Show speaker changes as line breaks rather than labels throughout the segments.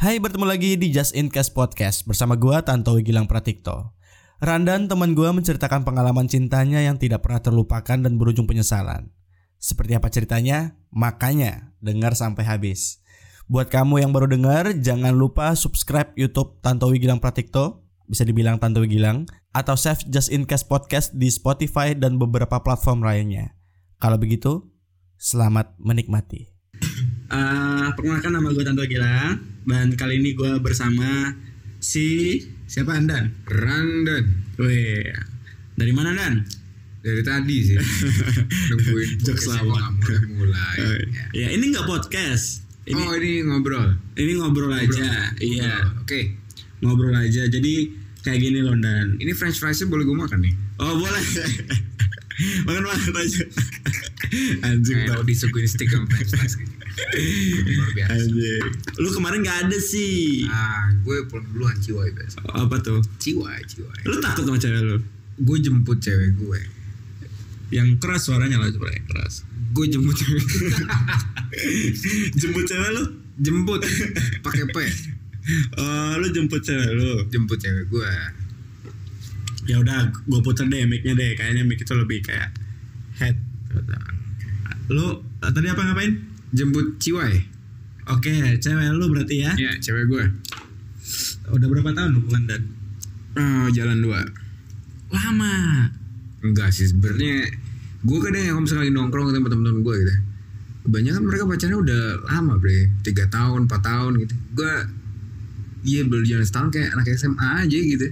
Hai, bertemu lagi di Just In Case Podcast bersama gua Tantowi Gilang Pratikto. Randan teman gua menceritakan pengalaman cintanya yang tidak pernah terlupakan dan berujung penyesalan. Seperti apa ceritanya? Makanya dengar sampai habis. Buat kamu yang baru dengar, jangan lupa subscribe YouTube Tantowi Gilang Pratikto, bisa dibilang Tantowi Gilang, atau save Just In Case Podcast di Spotify dan beberapa platform lainnya. Kalau begitu, selamat menikmati.
Eh, perkenalkan nama gue Tanto Gila Dan kali ini gue bersama si
Siapa Andan?
Randan
Weh Dari mana Dan?
dari tadi sih nungguin
Jokes
podcastnya
lawak.
kok nggak mulai mulai ya.
Ya ini nggak podcast Ini,
oh ini ngobrol
ini ngobrol aja Iya
Ngobrol. oke
Ngobrol aja Jadi kayak gini loh Dan
ini french friesnya boleh gue makan nih
Oh boleh Makan-makan aja Anjing
kayak
tau
mau disuguhin stick sama french fries gitu luar biasa
Anjing Lu kemarin nggak ada sih
ah gue pulang duluan ciwai biasa
Apa tuh?
ciwai ciwai
Lu takut sama cewek lu?
gue jemput cewek gue
Yang keras suaranya lah coba yang keras
gue jemput cewek
Jemput cewek lu?
jemput pakai p
Eh, lu jemput cewek lu
jemput cewek gue
ya udah gue puter deh mic-nya deh kayaknya mic itu lebih kayak head lu eh, tadi apa ngapain
jemput ciwai
oke cewek lu berarti ya
Iya cewek gue
udah berapa tahun hubungan dan
Ah, jalan dua
lama
Enggak sih sebenarnya gue kadang ya kalau misalnya lagi nongkrong sama temen-temen gue gitu kebanyakan mereka pacarnya udah lama bre tiga tahun empat tahun gitu gue iya baru jalan setahun kayak anak SMA aja gitu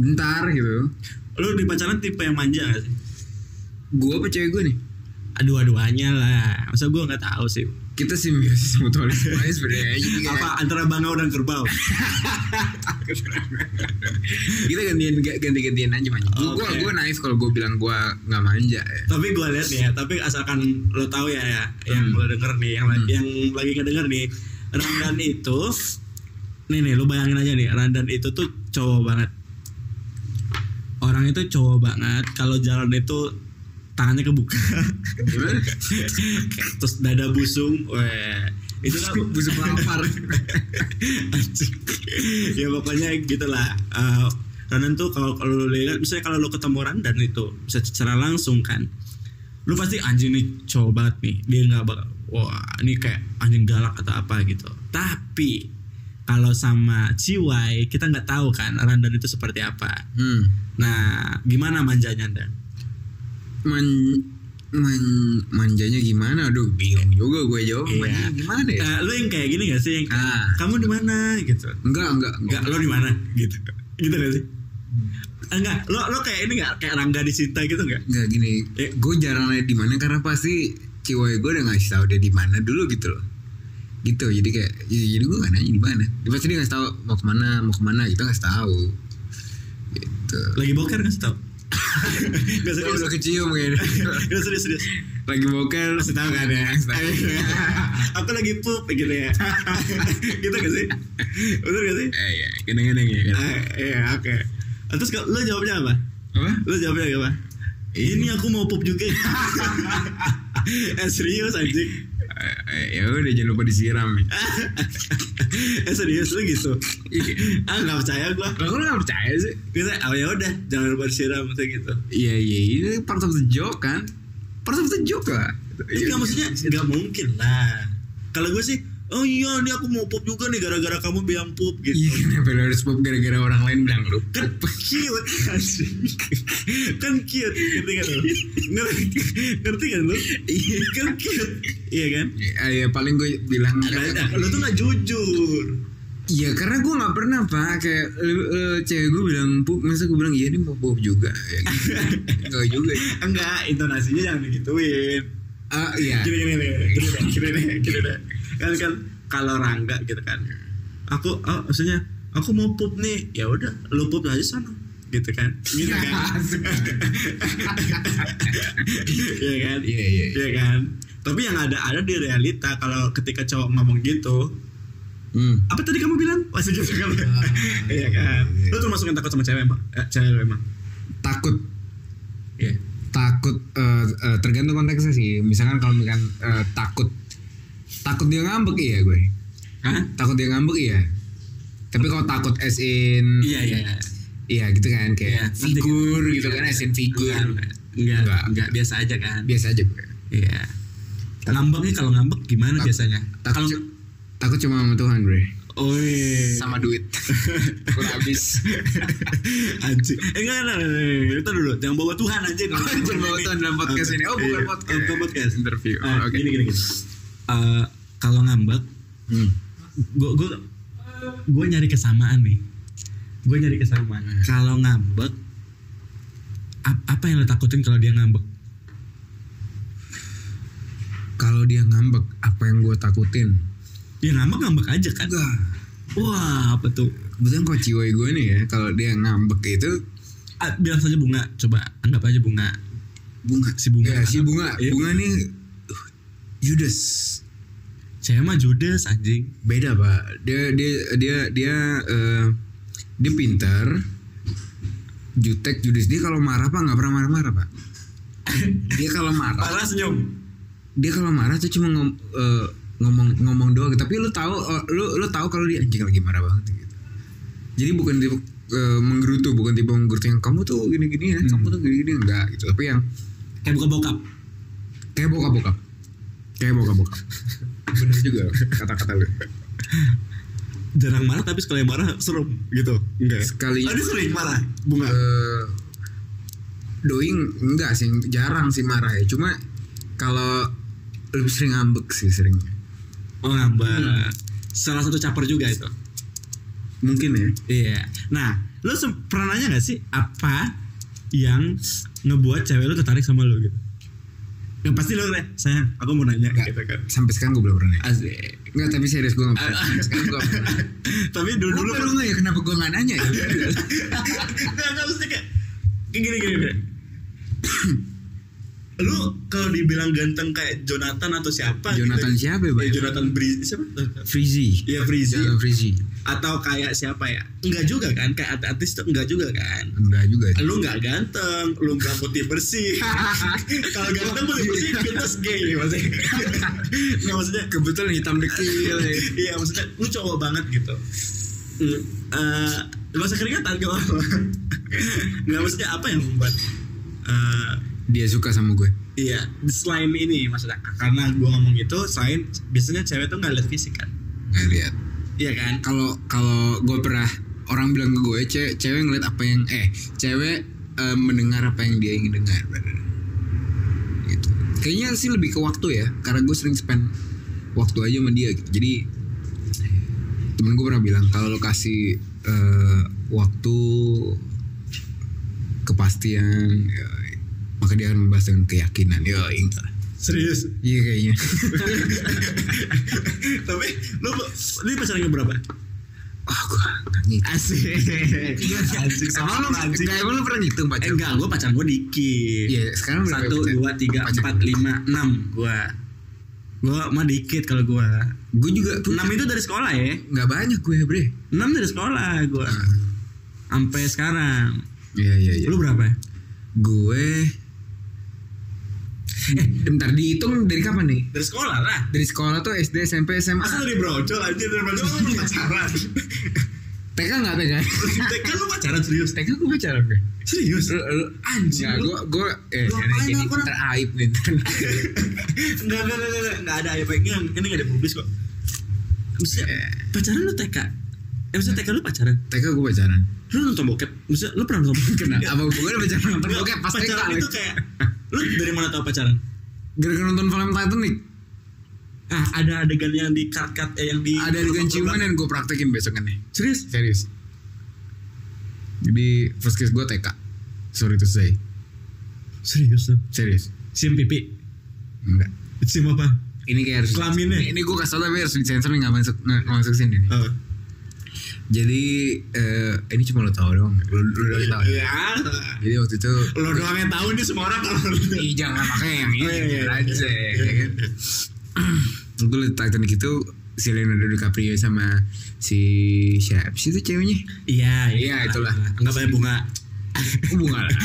bentar gitu
lu di pacaran tipe yang manja gak sih
gue apa cewek gue nih
dua-duanya lah masa gue nggak tahu sih
kita simbiosis mutualisme aja sebenarnya Jadi kayak
apa antara bangau dan kerbau
kita gantian ganti gantian aja manja gue
Oke.
gue naif kalau gue bilang gue nggak manja ya
tapi gue lihat nih ya tapi asalkan lo tahu ya, ya yang lo denger nih yang yang lagi kedenger nih Randan itu nih nih lo bayangin aja nih Randan itu tuh cowok banget orang itu cowok banget kalau jalan itu tangannya kebuka
gimana
terus dada busung weh itu kan
busuk lapar
Anjing. ya pokoknya gitulah Eh, Randan tuh kalau kalau lo lihat misalnya kalau lo ketemu Randan itu bisa secara langsung kan lu pasti anjing nih cowok banget nih dia nggak bakal wah ini kayak anjing galak atau apa gitu tapi kalau sama Ciwai kita nggak tahu kan Randan itu seperti apa
hmm.
nah gimana manjanya Dan
man, man manjanya gimana aduh bingung juga gue jawab
Iya.
manjanya gimana ya
Eh, lu yang kayak gini gak sih yang kayak,
Ah.
kamu di mana gitu
enggak enggak enggak
Enggak, lo di mana gitu gitu gak sih enggak lo lo kayak ini nggak kayak Rangga di Sinta gitu nggak
enggak gini
Eh.
gue jarang lihat di mana karena pasti cewek gue udah ngasih tahu dia di mana dulu gitu loh gitu jadi kayak ya, jadi gue gak nanya di mana dia pasti dia ngasih tahu mau kemana mau kemana gitu ngasih tahu gitu
lagi boker kan, nggak sih tau nggak
Gue
serius
udah kecium kayaknya
nggak serius serius
lagi boker ngasih tahu kan ya ngasih tahu.
Iya. aku lagi pup gitu ya gitu gak sih betul gak sih
eh ya kadang-kadang ya kadang.
Ah, iya oke terus kalau- lo jawabnya apa
apa
lo jawabnya apa ini aku mau pup juga eh serius anjing
Eh, eh, ya udah jangan lupa disiram ya.
eh serius lo gitu ah nggak percaya gua
Lah, kok lu gak percaya sih
kita oh ya udah jangan lupa disiram maksudnya gitu
Iya iya ini part of the joke kan Part of the joke lah
Enggak maksudnya enggak mungkin lah. Kalau gue sih, oh iya ini aku mau pop juga nih gara-gara kamu bilang pop
Iya
gitu.
kenapa lu harus pop gara-gara orang lain bilang lu
Kan cute kan sih. kan cute, ngerti kan lu? Ngerti, ngerti kan lu? Iya, kan cute. Iya kan?
Ya, ya paling gue bilang
Nah, nah, lu tuh gak jujur.
Iya karena gue gak pernah pak Kayak lu- eh, cewek gue bilang pup Masa gue bilang iya ini mau pup juga ya, gitu. Enggak juga ya.
Enggak, intonasinya jangan digituin.
Ah iya
Gini gini gini gini deh, gini deh, gini deh. Kan kan kalau Rangga gitu kan. Aku oh, maksudnya aku mau pup nih. Ya udah, lu pup aja sana. Gitu kan. Gitu kan. Iya kan?
Iya iya iya.
Iya kan? Tapi yang ada ada di realita kalau ketika cowok ngomong gitu,
Hmm.
apa tadi kamu bilang? Masih gitu kan? Iya kan?
Ah, iya. Hmm.
Lu termasuk yang takut sama cewek emang? Eh, cewek lu emang?
Takut
Iya.
takut eh, eh, tergantung konteksnya sih misalkan kalau misalkan eh, takut takut dia ngambek iya gue
Hah?
takut dia ngambek iya tapi kalau takut as in
Iya iya.
iya gitu kan
Iya,
kayak
nanti-
figur gitu kan as in figur
Enggak, enggak,
Enggak.
enggak biasa aja kan.
biasa aja gue
Iya. Ngambeknya kalau ngambek gimana
Tak-
biasanya?
takut,
Kalau
cu- takut cuma sama Tuhan bre
Oi.
sama duit kurang habis
Anjing. Eh enggak enggak, enggak, enggak. Itu dulu jangan bawa Tuhan anjing.
Oh, jangan bawa Tuhan dalam podcast ini. Oh, bukan
Iya,
podcast.
bukan podcast.
Interview. Oh,
Ah,
oke.
Gini gini gini. Eh, kalau ngambek
hmm.
gue gue gue nyari kesamaan nih gue nyari kesamaan
Hmm.
kalau ngambek ap- apa yang lo takutin kalau dia ngambek
kalau dia ngambek apa yang gue takutin
dia Ya ngambek ngambek aja kan
enggak
wah apa tuh
kebetulan kok ciwoi gue nih ya kalau dia ngambek itu
Ah, bilang saja bunga coba anggap aja bunga
bunga
si bunga
ya, si bunga
Iya.
bunga nih uh, Judas
saya mah judes anjing
beda pak dia dia dia dia eh, dia pintar jutek judes dia kalau marah pak nggak pernah marah-marah pak dia kalau marah
parah senyum
dia kalau marah tuh cuma ngom- eh, ngomong ngomong doang tapi lu tahu eh, lu lu tahu kalau dia anjing lagi marah banget gitu jadi bukan tipe eh, menggerutu bukan tipe menggerutu yang kamu tuh gini-gini ya kamu tuh gini-gini enggak gitu tapi yang
kayak buka bokap
kayak bokap bokap kayak bokap bokap bener juga kata-kata lu
jarang marah tapi sekali marah serem gitu enggak ya?
Sekali-
oh, dia sering marah bunga
Eh, doing enggak sih jarang sih marah ya cuma kalau lebih sering ngambek sih sering
oh ngambek
hmm.
salah satu caper juga itu
mungkin ya
Iya. Nah, lo sem- pernah nanya gak sih apa yang ngebuat cewek lo tertarik sama lo gitu? Yang pasti lo kayak, sayang, aku mau nanya
Nggak.
gitu kan.
sampai sekarang gue belum pernah nanya.
Asik.
enggak tapi serius gue nggak pernah sampai sekarang gue nggak pernah nanya.
Tapi dulu
Lu
dulu
baru nggak ya kenapa gue nggak nanya ya?
nggak nggak mesti Nah, kayak kayak gini gini. gini. lu kalau dibilang ganteng kayak Jonathan atau siapa?
Jonathan
gitu.
siapa ya, Bay?
ya? Jonathan Bri siapa?
Freezy.
Iya Frizi.
Jangan Freezy.
Atau kayak siapa ya? Enggak juga kan? Kayak artis tuh enggak juga kan?
Enggak juga. sih.
lu nggak ganteng, lu nggak putih bersih. Kalau ganteng putih bersih, gentas gay maksudnya. Nggak maksudnya.
Kebetulan hitam dekil. ya.
Iya maksudnya, lu cowok banget gitu. Hmm, eh, bahasa keringatan gak apa-apa. Nggak maksudnya apa yang membuat eh,
Dia suka sama gue.
Iya, selain ini maksudnya karena gua ngomong itu selain biasanya cewek tuh nggak lihat fisik kan,
Nggak lihat.
iya kan?
Kalau kalau gue pernah orang bilang ke gue cewek, cewek ngeliat apa yang eh cewek eh, mendengar apa yang dia ingin dengar. brother. Gitu. Kayaknya sih lebih ke waktu ya, karena gue sering spend waktu aja sama dia. Gitu. Jadi temen gue pernah bilang kalau lo kasih eh, waktu kepastian, ya, maka dia akan membahas dengan keyakinan. Ya, enggak.
Serius.
Iya kayaknya.
Tapi lu ini pacaran yang berapa?
Wah, gue Ah, nggak ngitung.
Asik. Asik sama
Emang lu,
anjing.
emang lu pernah ngitung
Eh,
pacar?
enggak, gue pacar gue dikit.
Iya, sekarang berapa
satu,
pacar-
dua, tiga,
pacar
empat,
gue?
lima, enam. Gue, gue mah dikit kalau gue.
Gue juga punya
Enam itu dari sekolah ya.
nggak banyak gue bre.
Enam dari sekolah gue. Sampai sekarang.
Iya iya iya.
Lu berapa?
Gue eh bentar dihitung dari kapan nih?
Dari sekolah lah.
Dari sekolah tuh SD SMP SMA
Masa dari brocol aja dari brocol lu belum pacaran.
TK nggak TK?
Kan lu pacaran serius.
TK gue pacaran gue.
Serius.
Lu, lu,
Anjing.
Nggak,
lu-
gue gue eh
lu
ini
ngapain
gini,
aku nak-
ntar aib nih ntar.
Enggak, enggak, enggak, enggak, enggak ada efeknya. Ini enggak ada publis kok. Maksudnya,
Iya.
pacaran lu TK? Eh, maksudnya TK lu pacaran?
TK gue pacaran.
Lu nonton bokep? Maksudnya, lu pernah nonton bokep?
Kenapa? Apa gue udah pacaran nonton
Enggak,
Oke, pas TK.
pacaran
Alex.
itu kayak lu dari mana tahu pacaran?
Gara-gara nonton film Titanic
Ah, ada adegan yang di cut-cut eh, yang di
ada adegan ciuman yang gue praktekin besokan nih.
Serius?
Serius. Jadi first kiss gue TK. Sorry to say.
Serius tuh.
Serius.
Cium pipi.
Enggak.
Cium apa?
Ini kayak harus
Kelaminnya.
Ini, ini gue kasih tau tapi harus disensor nih nggak masuk nggak nggak masuk sini. nih.
Eh.
Jadi eh, ini cuma lo tau dong. Lo, lo doang tau.
Ya.
Jadi waktu itu.
Lo doang yang tahu nih semua orang kalau
Ih, jangan makanya yang
Oh, iya,
ini
iya.
aja. ya kan? Gue liat Titanic itu si Leonardo DiCaprio sama si siapa sih itu ceweknya?
Iya,
Iya, itulah.
Enggak banyak bunga.
Oh, bunga lah.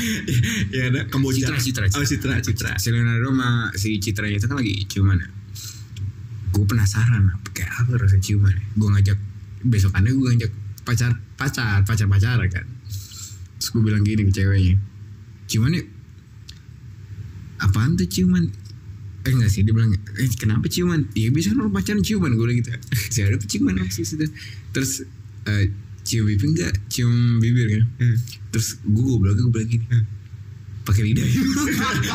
Iya, ada Kamboja.
Citra, Citra,
Oh, Citra, Citra.
Si Leonardo sama si Citra itu kan lagi ciuman ya. gue penasaran apa- kayak apa rasanya ciuman gue ngajak besokannya gue ngajak pacar pacar pacar pacaran kan terus gue bilang gini ke ceweknya ciuman yuk apaan tuh ciuman eh enggak sih dia bilang eh kenapa ciuman ya biasa orang pacaran ciuman gue bilang gitu saya ada ciuman apa sih sudah terus eh, cium pipi enggak cium bibir kan
Hmm.
terus gue gue bilang gue bilang gini pakai lidah ya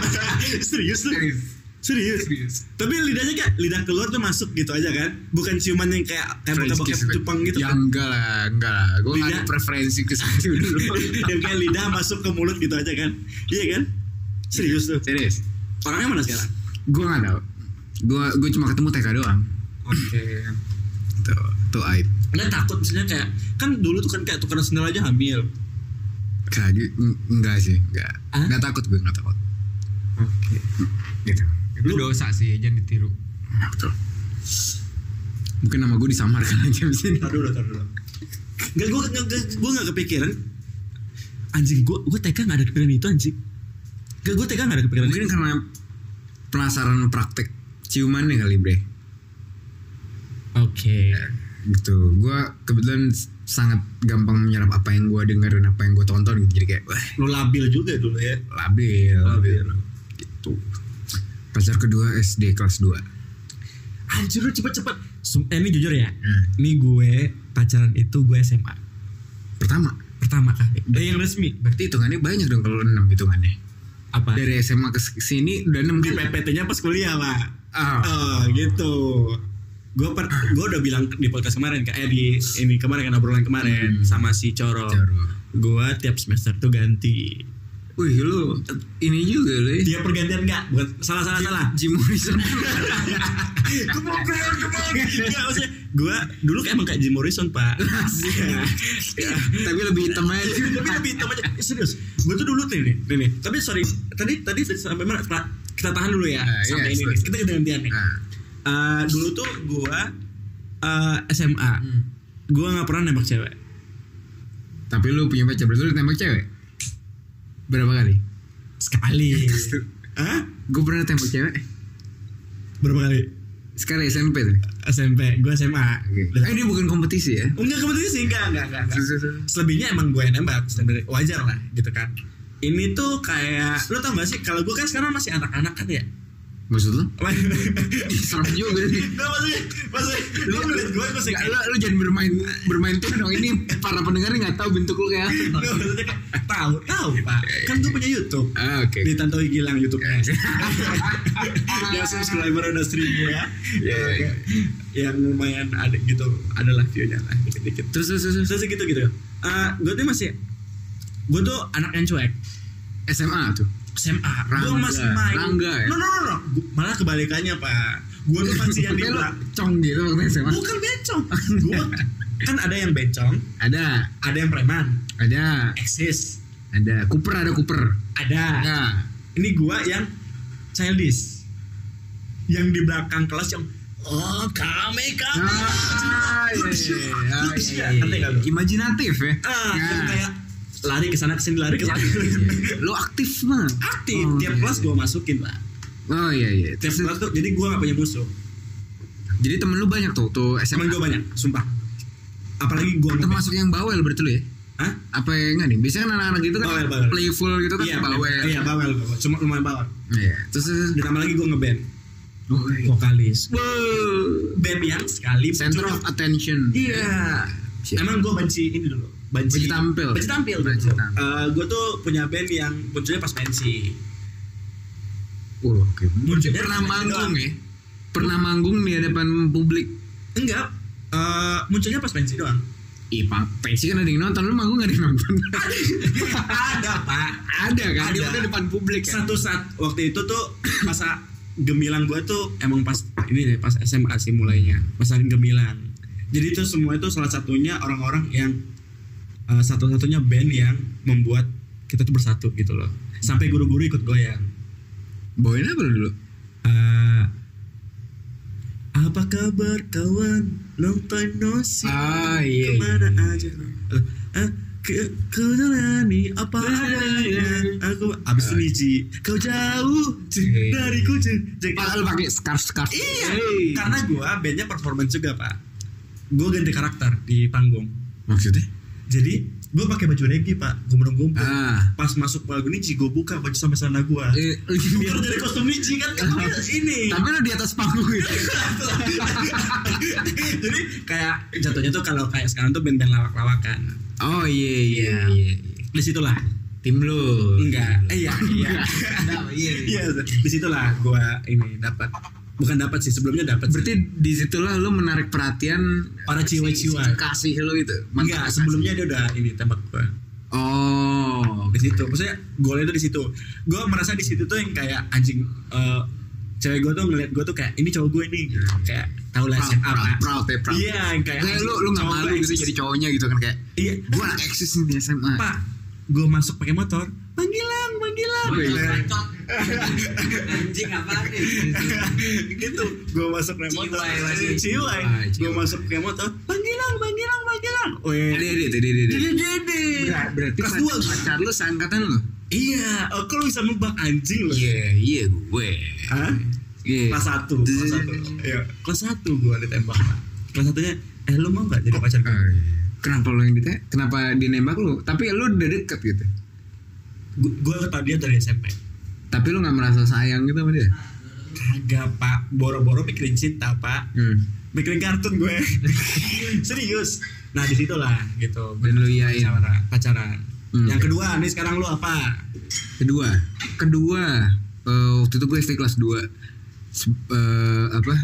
serius lu serius tapi lidahnya kayak lidah keluar tuh masuk gitu aja kan bukan ciuman yang kayak kayak
French
bokep-bokep
kiss gitu.
Jepang gitu
ya
kan
enggak lah enggak lah gue nggak ada
Lidah.
preferensi ke situ dulu
yang kayak lidah masuk ke mulut gitu aja kan iya kan serius tuh
serius
orangnya mana sekarang
gue nggak tahu gue gue cuma ketemu TK doang
oke
tuh tuh aib
nggak takut misalnya kayak kan dulu tuh kan kayak tukeran sendal aja hamil
kagak n- enggak sih enggak
Hah?
enggak takut gue enggak takut
Oke.
gitu
Itu
Lu-
dosa sih, jangan ditiru.
Nah, betul mungkin nama gue disamarkan aja di sini
Tar dulu, tar dulu. Gak, gue gak, gue gak kepikiran. Anjing, gue gue TK gak ada kepikiran itu anjing. Gak, gue TK gak ada kepikiran
mungkin karena penasaran praktek ciumannya kali bre
Oke.
gitu gue kebetulan s- sangat gampang menyerap apa yang gue dengar dan apa yang gue tonton gitu jadi kayak wah
Lu labil juga dulu ya.
labil
Labil.
gitu pacar kedua SD kelas 2
Anjir lu cepet-cepet. Sum- Eh, ini jujur ya. Ini gue pacaran itu gue SMA.
pertama
Pertama kali. Eh, yang resmi.
berarti hitungannya banyak dong kalau 6 hitungannya
Apa?
dari SMA ke sini udah 6
Di PPT-nya pas kuliah, Pak.
ah
Oh, gitu. Gue per, gue udah bilang di podcast kemarin, kayak eh, di ini kemarin kan obrolan kemarin sama si Coro.
Hmm. Coro.
Gue tiap semester tuh ganti.
wih lu ini juga lu ya
Dia pergantian nggak? Bukan salah salah Iya, salah.
Jim Morrison
Kebon, kebon. Enggak maksudnya gue dulu kayak emang kayak Jim Morrison pak. Iya. Iya.
tapi lebih hitam aja
tapi lebih hitam aja. Eh, serius, gue tuh dulu tuh nih, nih, nih. Tapi sorry, tadi tadi sampai mana? Kita- Kita tahan dulu ya
Nah,
sampai
iya,
ini.
sorry.
Nih. Kita gantian nih.
nah,
Eh, dulu tuh gue eh, SMA, gue nggak pernah nembak cewek.
tapi lu punya pacar berarti lu tembak cewek berapa kali
Sekali.
Hah?
gue pernah tembak cewek
Berapa kali?
sekali SMP tuh
SMP, gue SMA.
eh ini bukan kompetisi ya
Enggak kebetulan sih, enggak, enggak, enggak. enggak.
Susu- susu.
selebihnya emang gue yang nembak sebenarnya wajar lah gitu kan ini tuh kayak lo tau gak sih kalau gue kan sekarang masih anak-anak kan ya
maksud lu
Nggak,
serem juga sih
maksudnya maksudnya lo ngeliat gue masih
Nggak,
kayak
lu, lu jangan bermain bermain tuh dong ini para pendengar nggak tahu bentuk lu ya. kayak apa.
Nggak, maksudnya kayak tahu tahu pak kan gue punya YouTube
ah, oke
di Tantowi Gilang YouTube ya. yang subscriber udah seribu ya
Iya, iya, iya.
yang lumayan ada gitu adalah view-nya lah dikit-dikit
terus terus terus
terus gitu gitu Eh gue tuh masih gue tuh anak yang cuek
SMA tuh
SMA
Rangga.
gue masih main
Rangga ya?
no no no, no. Gua- malah kebalikannya pak gue tuh masih yang di
Tapi lu cong gitu waktu SMA
bukan bencong gue kan ada yang bencong
ada
ada yang preman
ada
eksis
ada Cooper ada Cooper Nah.
ada
ada
ini gue yang childish yang di belakang kelas yang oh kami kami
Ah, iya, iya, iya,
Ngerti
iya.
nggak lu?
imajinatif ya
ah yang
Nah. Iya,
kayak lari ke sana ke sini lari ke sana
lu aktif mah
aktif
Oh,
tiap
iya.
kelas gue masukin pak
oh iya iya
tiap
Terus-
kelas tuh jadi gue gak punya musuh
jadi temen lu banyak tuh tuh
temen
SMA
gue banyak sumpah apalagi gue
termasuk yang bawel berarti lu ya
Hah?
apa ya enggak nih biasanya kan anak-anak gitu kan
Bawel, bawel.
playful gitu kan
Iya,
bawel
Iya, bawel, bawel. Cuma lumayan bawel.
Iya. terus terus-
Ditambah lagi gue ngeband.
Oh, iya.
Vokalis.
Band yang sekali
center
muncul-
of attention
Iya.
Shit.
Emang gue benci ini dulu. Benci,
Benci tampil.
Benci tampil.
Benci tampil.
gue tuh punya band yang munculnya pas pensi.
Oh, oke.
Munculnya
pernah
pas pensi doang.
manggung ya pernah manggung di hadapan publik
Enggak. Eh, munculnya pas pensi doang.
Ih, Pak, pensi kan ada yang nonton, lu manggung gak ada yang nonton?
Ada pak.
ada kan? Ada.
Ada.
Ada depan publik kan?
Satu saat waktu itu tuh masa gemilang gue tuh emang pas ini deh pas SMA sih mulainya masa gemilang. Jadi itu semua itu salah satunya orang-orang yang eh, satu-satunya band yang membuat kita tuh bersatu gitu loh. Sampai guru-guru ikut goyang.
Bawain apa lu dulu?
Eh, apa kabar kawan? Long time no see.
Ah, iya, iya.
Kemana aja? Eh, Ke, ku jalani apa
Iya,
adanya Aku abis
Ah.
ini Ci Kau jauh
Iya,
Ci Dariku Ci Jadi-
Pak, lu pakai scarf scarf.
Iya Karena gue bandnya performance juga pak Gue ganti karakter di panggung
Maksudnya?
Jadi gue pakai baju reggae pak Gumbrung-gumbrung
Ah.
Pas masuk panggung ini Ci gue buka baju sama sana gue
Eh, lu di-
Bukan dari kostum Nici kan kan pakai ini
Iya. Tapi lu di atas panggung gitu.
Jadi kayak jatuhnya tuh kalau kayak sekarang tuh band-band kan. lawak-lawakan
Oh iya
Iya.
iya iya.
Disitulah
Tim lu.
Enggak Eh, Iya iya
Ada, Iya. iya.
Iya disitulah gue ini dapat Bukan dapat sih sebelumnya dapat sih.
Berarti disitulah lu menarik perhatian
Para
si-
jiwa-jiwa.
si Kasih lu itu. Mantan
Enggak,
kasih.
sebelumnya dia udah ini tembak gue
Oh.
di situ. Maksudnya golnya tuh di situ. Gue merasa di situ tuh yang kayak anjing eh, cewek gue tuh ngeliat gue tuh kayak ini cowok gue nih gitu. kayak tau lah
Proud,
siapa.
proud, proud, ya, proud.
Iya, yang kayak
Kayak lu lu nggak
cowok
malu
gua
gitu
eksis.
jadi cowoknya gitu kan kayak
Iya,
gue anak eksis nih di SMA.
Pak, gue masuk pakai motor, Gitu. panggilan, panggilan.
Anjing apa nih?
gitu gue masuk pakai motor
Ciwai lagi.
ciwai
Ciwai,
gue
ciwai.
masuk pakai motor panggilan panggilan panggilan
Dede,
Weh.
dede, dede, dede.
dede
Ber- iya, Berarti
Iya. kelas
pac-
dua gua.
pacar lu seangkatan lu?
iya oh, kok lu bisa nebak anjing lu
iya gue.
Hah?
Iya.
kelas satu kelas satu Iya, kelas satu gue ditembak Pak. kelas satunya eh lu mau nggak jadi pacar gue
Ah, iya. Kenapa lu yang dite? Kenapa dia nembak lu? Tapi lu udah deket gitu.
gue tau dia dari SMP
Tapi lu nggak merasa sayang gitu sama dia?
kagak pak boro-boro mikirin cinta pak
Hmm.
mikirin kartun gue serius nah disitulah gitu
Dan lu iyain.
pacaran, pacaran.
Hmm.
yang kedua nih sekarang lu apa
Kedua, kedua eh, waktu itu gue SD kelas 2 apa?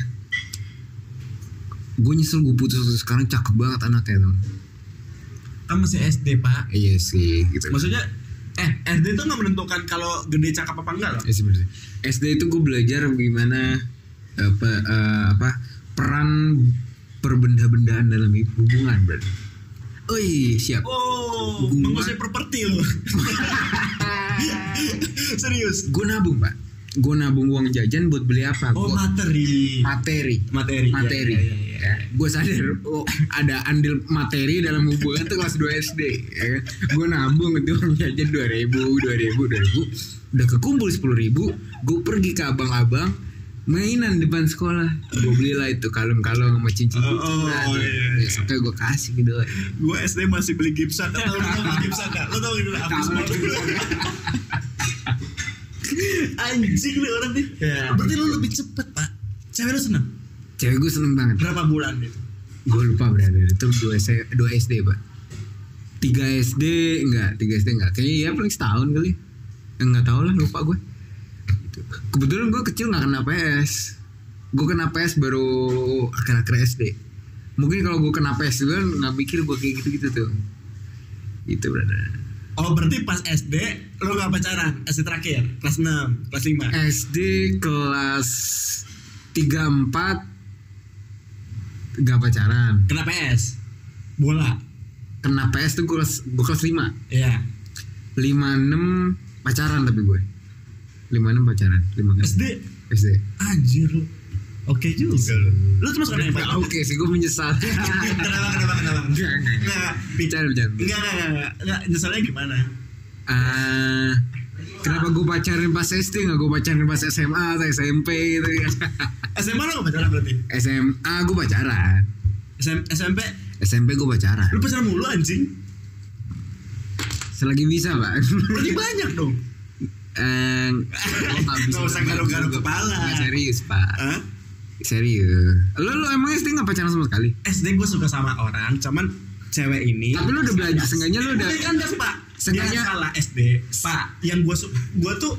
Gue nyesel gue putus waktu sekarang cakep banget anaknya tuh.
kan masih SD pak
Iya sih gitu.
maksudnya eh SD itu nggak menentukan kalau gede cakep apa enggak loh
Ya, sebenarnya. SD itu gue belajar gimana apa eh, apa peran perbenda-bendaan dalam hubungan berarti. Oi siap.
oh
Gua-
menguasai properti lo serius
Gue nabung pak. Gue nabung uang jajan buat beli apa?
oh
Gua-
materi
materi.
materi ya,
Materi.
ya, ya, ya.
Gue sadar oh, ada andil materi dalam hubungan tuh kelas 2 SD. Ya. Gue nabung itu uang jajan dua ribu, dua ribu, Udah kekumpul sepuluh ribu. Gue pergi ke abang-abang mainan depan sekolah. Gue belilah itu kalung-kalung sama cincin.
Oh, oh, iya, iya.
Sampai gue kasih gitu.
gue SD masih beli Gibson lo tau lo tau Gibson gak lo tau gitu lah
Tahu.
anjing nih orang nih
Ya.
berarti lo lebih cepet pak cewek lo seneng
Cewek gue seneng banget.
berapa bulan gitu? itu
gue lupa berada itu dua S- dua SD pak tiga SD enggak tiga SD enggak kayaknya ya paling setahun kali Eh, enggak tahu lah lupa gue Gitu. kebetulan gue kecil nggak kena PS gue kena PS baru akhir-akhir SD mungkin kalau gue kena PS juga nggak mikir gue kayak gitu-gitu tuh itu berada
oh berarti pas SD lo gak pacaran SD terakhir kelas 6 kelas 5
SD kelas 34 nggak pacaran
kena PS bola
kena PS tuh gue kelas gue kelas 5
Iya.
56 pacaran tapi gue 56 pacaran kan? 5 kali
SD
SD
anjir lu. Oke juga lu. Lu terus kena
Nggak,
apa?
oke sih gue menyesal
Kenapa kenapa kenapa?
Enggak, enggak, enggak.
Enggak.
bicara bicara
Enggak enggak enggak. Enggak nyeselnya gimana?
Ah, kenapa gue pacarin pas SD nggak gue pacarin pas SMA atau SMP gitu
SMA lu gak pacaran berarti?
SMA gue pacaran
SM- SMP
SMP gue pacaran
lu pacaran mulu anjing.
selagi bisa pak
Berarti
Iya.
banyak dong.
Eh, gua nggak bisa
Nggak usah
nembak
garuk-garuk
juga, Pak.
kepala. Eh.
Nggak, serius pak
Hah?
serius lu lu emang SD nggak pacaran sama sekali
SD gue suka sama orang, cuman cewek ini
tapi lu udah belajar seenggaknya lu udah
Tapi kan das, Pak.
Seenggaknya-
Dia salah SD. Pak, yang gue suka gue tuh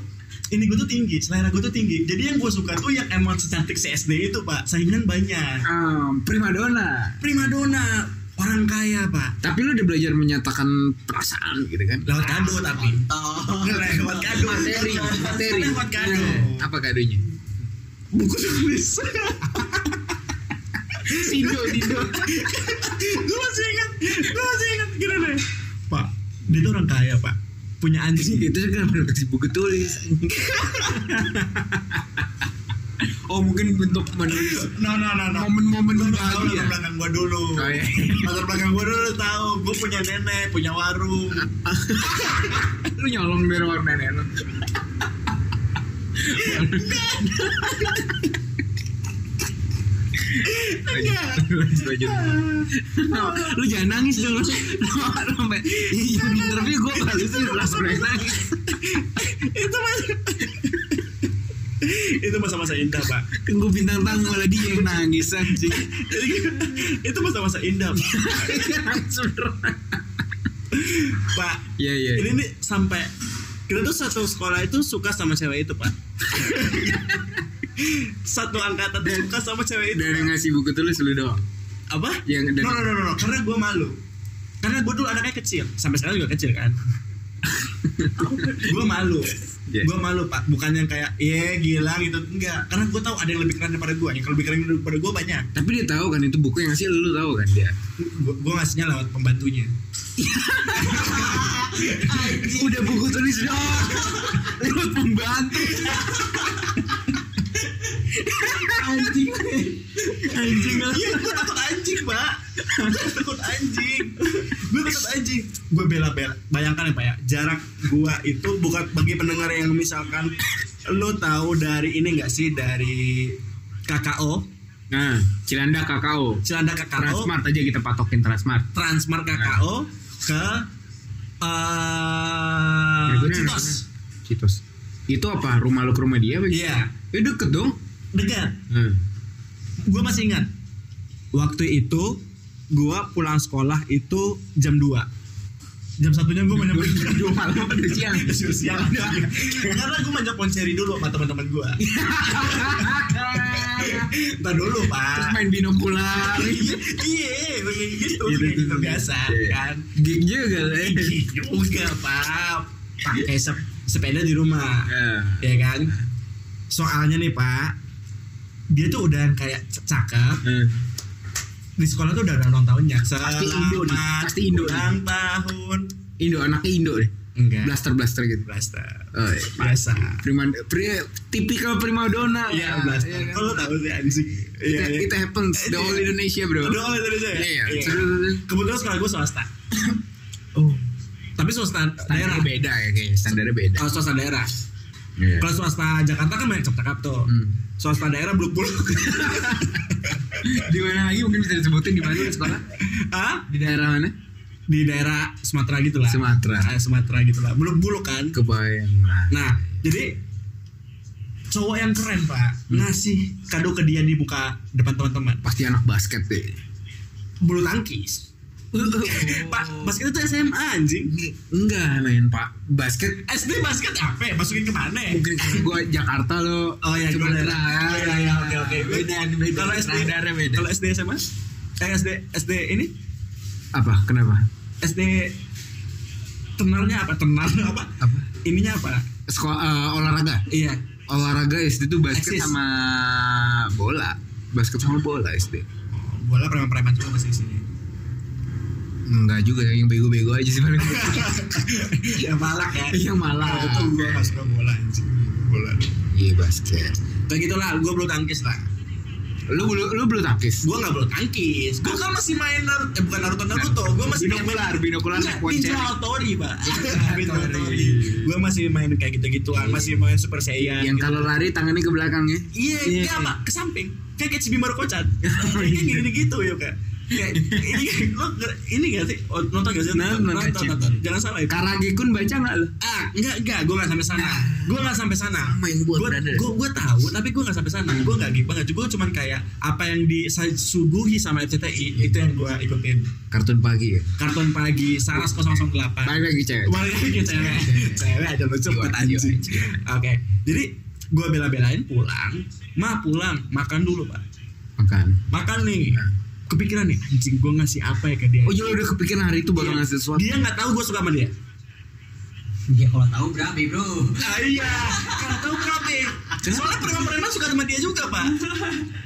ini gue tuh tinggi, selera gue tuh tinggi. Jadi yang gue suka tuh yang emang secantik se SD itu, Pak. Saingan banyak.
ah, primadona
Primadona, orang kaya, Pak.
Tapi lu udah belajar menyatakan perasaan gitu kan?
lewat kado tapi
oh,
lewat kado
Materi, materi.
lewat kado
Nah, apa kadonya?
buku tulis
Sido, Sido.
gue masih ingat gue masih ingat gini deh pak dia tuh orang kaya pak punya anjing
Itu kan kasih buku tulis. oh mungkin bentuk menulis
No no no no.
momen-momen
Lu nggak tahu latar
bahagia
belakang gua dulu.
ya? Oh, iya.
Latar belakang gua dulu lu tahu. Gua punya nenek, punya warung.
lu nyolong dari warung nenek lu Lanjut, lanjut. lu jangan nangis dong lu sampai yang interview gue kali sih langsung nangis
itu mas. itu masa-masa indah pak.
kan gue bintang tamu malah dia yang nangis anjing
Jadi, itu masa-masa indah pak. pak.
Iya, iya.
Ini nih sampai kita tuh satu sekolah itu suka sama cewek itu pak. satu angkatan tuh suka sama cewek itu. Pak.
dari ngasih buku tulis lu doang
apa?
Iya, Yang dari-
no, no, no, no, no, karena gue malu. Karena gue dulu anaknya kecil, sampai sekarang juga kecil kan. gue malu.
Iya.
Gue malu pak, bukan yang kayak iya gila gitu, enggak. Karena gue tahu ada yang lebih keren daripada gue. Yang lebih keren daripada gue banyak.
tapi dia tahu kan itu buku yang ngasih lu tahu kan dia
Gue ngasihnya lewat pembantunya.
udah buku tulis doang lewat pembantu anjing anjing lah
Iya, gue takut anjing pak. Gue takut anjing. Gue takut anjing. Gue bela-bela. Bayangkan ya pak ya, jarak gue itu bukan bagi pendengar yang misalkan lo tahu dari ini enggak sih dari KKO
nah Cilandak kakao
Cilandak KKO
Transmart aja kita patokin
Eh,
Transmart
Transmart KKO ke eh
Ya, bener,
Citos
bener. Citos itu apa rumah lu ke rumah dia apa gitu?
Iya.
Eh, deket dong
dekat
hmm.
gue masih ingat waktu itu gue pulang sekolah itu jam 2 jam satunya gue banyak
Jam dua malam atau siang?
Jam siang karena gue banyak ponceri dulu sama teman-teman gue Entar dulu
terus
pak
main binokular
iya iya, kayak gitu
Gitu,
kayak gitu
gitu.
biasa
Iya.
kan Iya.
gig juga lah ya.
juga pak pakai sep- sepeda di rumah
Ya.
ya kan soalnya nih pak dia tuh udah yang kayak c- cakep
Eh,
di sekolah tuh udah ulang tahunnya
Pasti Indo nih,
Selamat
pasti Indo nih.
ulang tahun
Indo anaknya Indo deh
enggak
blaster blaster gitu
blaster
oh, iya.
biasa
prima pri, tipikal primadona
iya
lah.
blaster
Iya kan?
kalau tahu sih anjing iya
It-
iya
it happens the whole Indonesia bro
Aduh, oleh Indonesia ya?
Iya,
Iya.
seru, seru.
kebetulan sekolah gue swasta oh tapi swasta daerah
standarnya beda ya kayaknya standarnya beda
kalau swasta daerah
Iya.
kalau swasta Jakarta kan banyak cakep-cakep tuh
Hmm.
swasta daerah buluk-buluk
di mana lagi mungkin bisa disebutin di mana di sekolah
Hah?
di daerah mana
di daerah Sumatera gitu lah
Sumatera.
Ah, Sumatera gitu lah buluk-buluk kan
kebayang lah
Nah, jadi cowok yang keren pak
Hmm.
ngasih kado ke dia di buka depan teman-teman
pasti anak basket deh
bulu tangkis
Oh.
pak basket itu SMA anjing
enggak main pak basket
SD basket apa masukin kemana
mungkin karena gue Jakarta lo
oh ya gue
Sumatera Iya, Ah,
daerah ya ya oke oke
beda beda
kalau SD
Standarnya beda
kalau SD SMA eh SD SD ini
apa kenapa
SD tenarnya apa tenar apa
apa
ininya apa
sekolah eh, olahraga
iya
olahraga SD tuh basket
Eksis.
sama bola basket sama bola SD
bola preman-preman juga masih di sini
enggak juga yang bego-bego aja sih paling
ya malak ya
yang malah
Waktu itu gue nggak suka bola anjing bola
iya basket
Kayak gitulah, gue belum tangkis lah.
lu bulu lu bulu tangkis
Gue nggak belum tangkis. Gue kan masih main Nar- eh, bukan Naruto Naruto. Gue masih main
binokular binokular
Nggak, Ninja Hattori, Pak. Ninja
Hattori.
Iya, Hattori. Iya. Gue masih main kayak gitu-gituan, masih main Super Saiyan.
yang
gitu.
kalau lari tangannya ke belakang ya
Iya,
Iya.
iya, Pak, ke samping. Kayak Ketsubi Maruko-chan. Kayak gini gitu ya, Kak. Kayak ini lo nge- ini gak sih Oh, nonton gak sih
Nonton,
nonton,
Kak.
nonton. jangan salah itu
karagi kun baca nggak lu
ah enggak enggak gue nggak sampai sana gue nggak sampai sana
Sama yang buat
gue
brother.
gue gue tahu tapi gue nggak sampai sana gue nggak gitu banget gue cuman kayak apa yang disuguhi sama FCTI itu yang gue ikutin
kartun pagi ya
karton pagi saras 008
balik lagi cewek
Balik lagi ke cewek cewek aja lu cepet
Jiwa,
anjing
jiwa,
oke jadi gue bela-belain pulang ma pulang makan dulu pak
makan
makan nih
Nah.
kepikiran nih anjing gue ngasih apa ya ke dia
oh jadi udah kepikiran hari itu bakal
Iya.
ngasih sesuatu
dia nggak tahu gue suka sama dia
Ya kalau tahu berani bro.
Nah, iya, kalau tahu kenapa? ya? Soalnya preman-preman suka sama dia juga, Pak.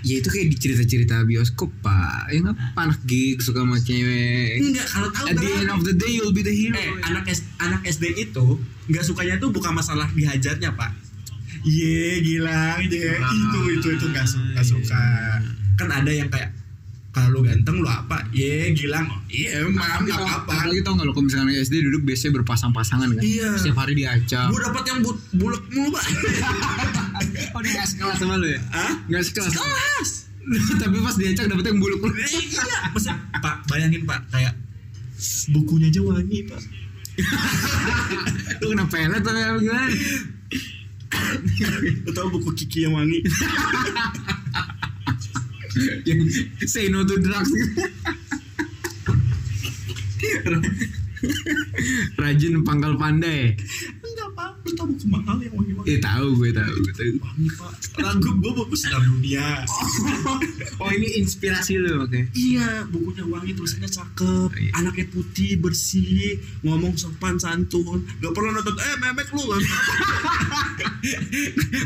ya itu kayak di cerita-cerita bioskop pak yang apa anak gig suka sama cewek
Enggak, kalau tahu
at the end
kenapa?
of the day you'll be the hero
Eh, anak S anak SD itu nggak sukanya tuh bukan masalah dihajarnya, Pak. Iya Gilang iya. Itu itu itu gak suka, nggak suka. Kan ada yang kayak Kalau lu ganteng lu apa Iya Gilang Iya
Nah,
emang gak apa-apa
Apalagi tau gak lo kalau misalkan SD duduk biasanya berpasang-pasangan kan
Iya.
Setiap hari diacak
Gue dapet yang bu- bulek mulu pak
Oh dia gak sekelas sama lo ya?
Hah?
Gak sekelas
Kelas
Tapi pas diacak dapet yang buluk
Eh, Iya Masa pak bayangin pak Kayak Bukunya aja wangi pak
Lu kena pelet atau apa gimana?
Atau buku Kiki yang wangi
Yang say no to drugs gitu Rajin pangkal pandai
Enggak pak Lu tau buku mahal ya, yang wangi-wangi
Eh tahu gue tahu gue tahu.
Wangi pak Lagu gue buku sedang dunia
Oh ini inspirasi lo makanya
Iya, bukunya wangi, tulisannya cakep,
Iya.
anaknya putih, bersih, ngomong sopan santun, nggak pernah nonton eh memek lu kan?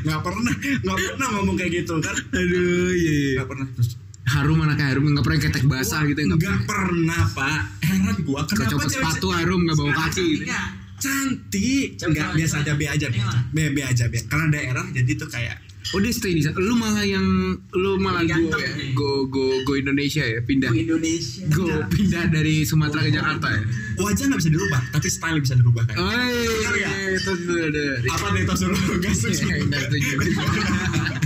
nggak pernah, nggak pernah ngomong kayak gitu kan?
Aduh iya iya
Nggak pernah terus.
Harum anaknya harum nggak pernah ketek basah
Wah,
gitu nggak
nggak pernah pak. Heran gua
pernah ya,
kenapa
copot
cewek-
sepatu harum nggak bawa kaki gitu.
cantik, nggak
Coba,
biasa
coba.
aja, be aja, be aja, be, be aja, be. Karena daerah jadi tuh kayak
Oh dia stay di sana. Lu malah yang lu malah go,
Ganteng,
ya?
ya.
go go go Indonesia ya pindah.
Indonesia
Go pindah dari Sumatera ke Jakarta ya.
wajah nggak bisa dirubah, tapi style bisa dirubah kan?
Oh
Iya,
iya, itu itu ada.
Apa nih tas lu nggak
Iya,
setuju?
nggak setuju.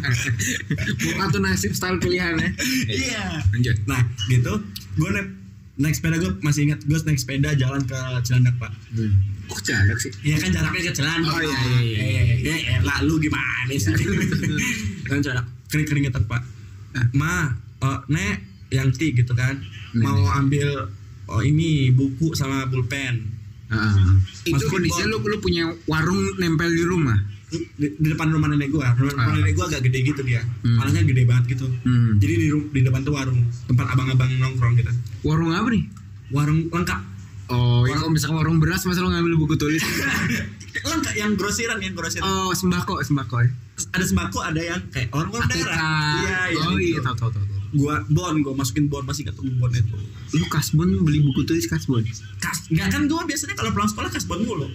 Bukan tuh nasib style pilihan ya.
Iya.
Lanjut.
Nah gitu Gue naik naik sepeda gue masih ingat gue naik sepeda jalan ke Cilandak pak
Oh jarak sih.
ya kan jaraknya ke Cilandak
Oh,
Pak.
iya, iya, iya.
Eh, eh, eh, lah, lu gimana sih kan Cilandak kering keringetan pak ma eh, nek yang ti gitu kan
Nek,
mau ambil oh, ini buku sama pulpen
Heeh. itu
Masukin
kondisinya lu
bol.
lu punya warung nempel di rumah.
di, di depan rumah nenek gue rumah, rumah
Ah.
nenek gue agak gede gitu dia
Hmm.
orangnya gede banget gitu
Hmm.
jadi di, ru- di depan tuh warung tempat abang-abang nongkrong gitu
Warung apa nih?
warung lengkap
Oh, ya, kalau misalkan warung beras masa lu ngambil buku tulis?
lengkap yang grosiran yang grosiran
oh, sembako, sembako ya.
ada sembako ada yang kayak orang-orang daerah iya
Iya,
iya
oh iya,
gitu.
tahu Hmm. tahu tahu. tahu.
gua bon gua masukin bon masih gak tuh bon itu
Lu kasbon beli buku tulis kasbon.
kas nggak kan gua biasanya kalau pulang sekolah kas bon mulu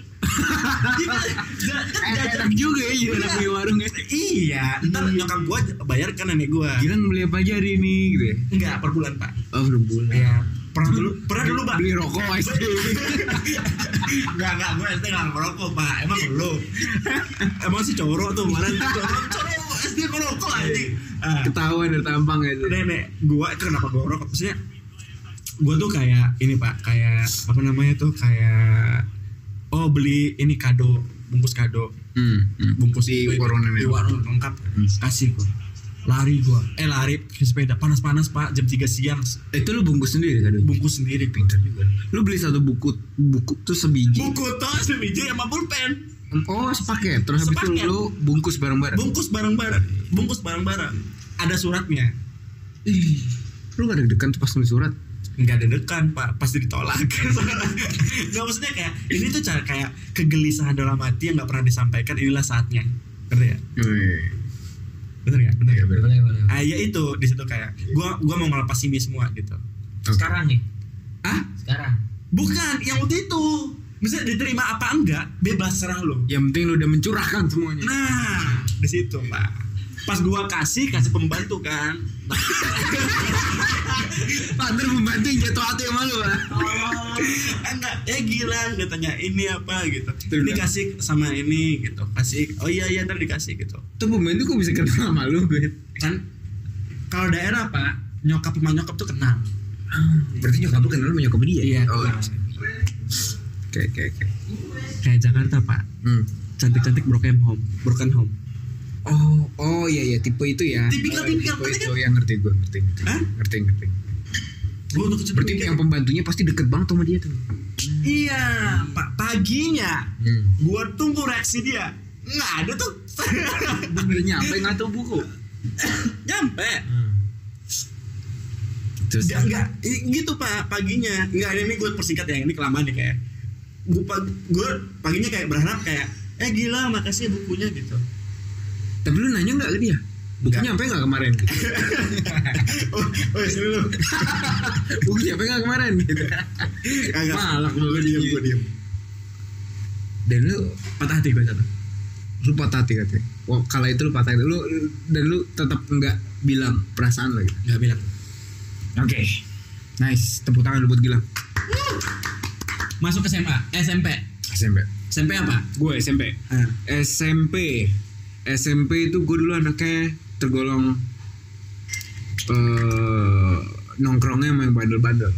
Iya, ja- kan jajan.
Enak juga ya jadi anak punya warung ya.
iya ntar
Hmm.
nyokap gua bayar ke nenek gua
Gilang beli apa aja hari ini gitu ya.
enggak per bulan pak
Oh, udah bulan.
Iya. pernah dulu pernah dulu pak
Beli rokok aja.
Enggak, enggak, gue SD nggak merokok, Pak. Emang lu. Emang si coro tuh kemarin coro coro SD merokok anjing. Ah.
Ketahuan dari tampang gitu.
nenek gua itu kenapa gua rokok maksudnya gua tuh kayak ini pak kayak apa namanya tuh kayak oh beli ini kado bungkus kado
Hmm. hmm.
bungkus
Di
itu-
warung nenek. Hmm.
di warung lengkap kasih gua lari gua eh lari pakai sepeda panas-panas pak jam 3 siang
Itu lu bungkus sendiri kan?
bungkus sendiri juga
Lu beli satu buku buku tuh sebiji.
buku tos biji sama pulpen
Oh, sepaket. Terus habis itu
Sepaket.
lu bungkus bareng-bareng.
bungkus bareng-bareng bungkus bareng-bareng ada suratnya
Ih, Lu gak deg-degan tuh pas nulis surat?
nggak deg-degan pak pasti ditolak nggak maksudnya kayak ini tuh cara kayak kegelisahan dalam hati yang nggak pernah disampaikan inilah saatnya ngerti ya bener nggak bener
Iya,
ya
Boleh boleh
ah ya itu di situ kayak gua gua mau ngelepas ini semua gitu
Sekarang nih
ah
Sekarang
bukan yang waktu itu misalnya diterima apa enggak bebas serah lo
Yang penting lu udah mencurahkan semuanya.
nah di situ pak pas gua kasih kasih pembantu kan
Panter membantu yang jatuh hati sama lu lah.
enggak ya gila katanya ini apa gitu
Betul,
ini
kan?
kasih sama ini gitu kasih oh iya iya ntar dikasih gitu
Tuh pembantu kok bisa ketemu sama lu, Bet?
kan kalau daerah pak nyokap sama nyokap tuh kenal
Berarti nyokap lu kenal sama nyokap dia?
Iya.
Oh, Oke, oke, oke.
kayak Jakarta pak
Hmm.
cantik-cantik broken home broken home
Oh, oh iya iya tipe itu ya.
Tipikal-
Oh,
tipikal,
tipe
berarti
itu yang ngerti gue, ngerti, ngerti,
Hah?
ngerti, ngerti.
gue tuh kecil
Berarti
dulu,
yang pembantunya pasti deket banget sama dia tuh.
kayak- iya pak paginya
Hmm.
gue tunggu reaksi dia nggak ada tuh
Benernya apa yang ngatur buku?
nyampe
Hmm. Terus
Nggak, nggak. I- gitu pak paginya nggak ini gue persingkat ya ini kelamaan nih kayak gue paginya kayak berharap kayak eh gila makasih bukunya gitu
Tapi lu nanya nggak ke dia? Bukunya sampai nggak kemarin? Gitu.
oh, oh dulu
Bukunya sampai nggak kemarin? Gitu.
kagak
Malak banget
gue diem
dia.
gue diem
Dan lu
patah hati gue
lu patah hati katanya Wah, kala itu lu patah hati lu lu- dan lu tetap nggak bilang perasaan lo gitu
Gak bilang.
oke nice tepuk tangan lu buat Gilang
Masuk ke SMA,
Eh,
SMP.
SMP
SMP apa?
gue SMP
Hmm.
SMP SMP itu gue dulu anaknya tergolong eh nongkrongnya sama yang bandel-bandel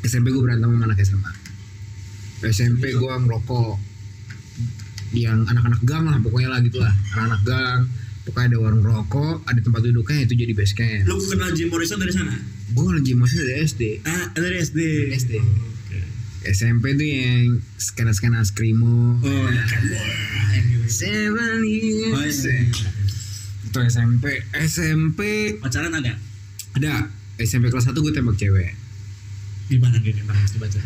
SMP gue berantem sama anak SMA SMP gue ngerokok yang anak-anak gang lah pokoknya lah gitu lah anak-anak gang pokoknya ada warung rokok ada tempat duduknya itu jadi base camp
Lu kenal Jim Morrison dari sana?
gue lagi masih dari SD
Ah, dari SD.
SD SMP tuh yang skena-skena skrimo
Oh,
Seven years.
Oh, iya.
Itu SMP. SMP
pacaran ada?
ada SMP kelas 1 gue tembak cewek.
Gimana dia nembak? Coba coba.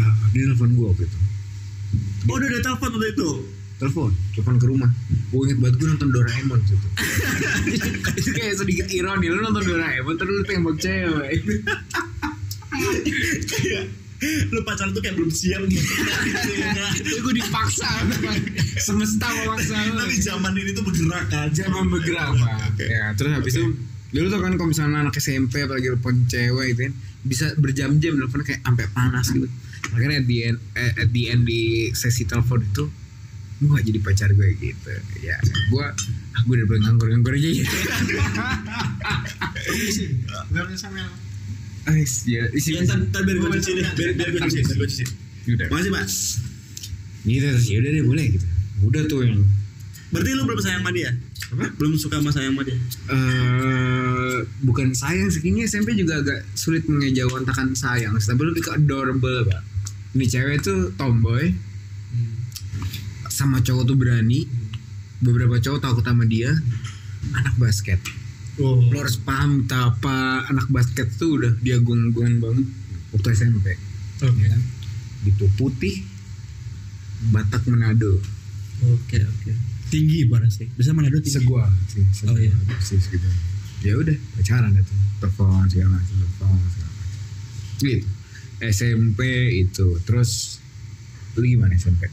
Ah, dia telepon gue waktu itu.
Oh, udah ada telepon waktu itu.
Telepon, telepon ke rumah. Gue inget banget gue nonton Doraemon waktu itu. Itu kayak sedikit ironi lu nonton Doraemon terus lu tembak cewek.
Kayak, Iya. lu pacaran tuh kayak belum siap gitu.
Itu gue dipaksa teman. semesta memaksa. gue.
Tapi zaman ini tuh bergerak kan.
Zaman bergerak pak. Ya terus habis itu dulu tuh kan kalau misalnya anak SMP apalagi telepon cewek gitu kan bisa berjam-jam teleponnya kayak sampai panas gitu. Makanya at the end eh, at the end di sesi telepon itu gue gak jadi pacar gue gitu ya gue ah, gue udah pengen nganggur nganggur aja ya Ah, ya isi
Ya, ntar, ntar biar gue cuci deh. Biar, biar gue cuci. biar gua cuci.
Udah.
Makasih, Pak.
gitu terus ya udah deh boleh gitu udah tuh yang
Berarti lu belum sayang sama dia?
Apa?
Belum suka sama sayang sama dia?
eh bukan sayang sih kayaknya SMP juga agak sulit mengejawantakan sayang sih. tapi lebih ke adorable pak ini cewek tuh tomboy sama cowok tuh berani beberapa cowok takut sama dia anak basket
Oh.
lo harus paham betapa anak basket tuh udah dia gonggongan banget waktu SMP
Oke.
ya kan? gitu putih Batak Manado
Oke oke. Tinggi ibarat sih. Bisa Manado tinggi.
segua sih segua
Oh, iya.
sih segitu ya udah pacaran itu telepon segala macam telepon segala macam gitu SMP itu terus lu gimana SMP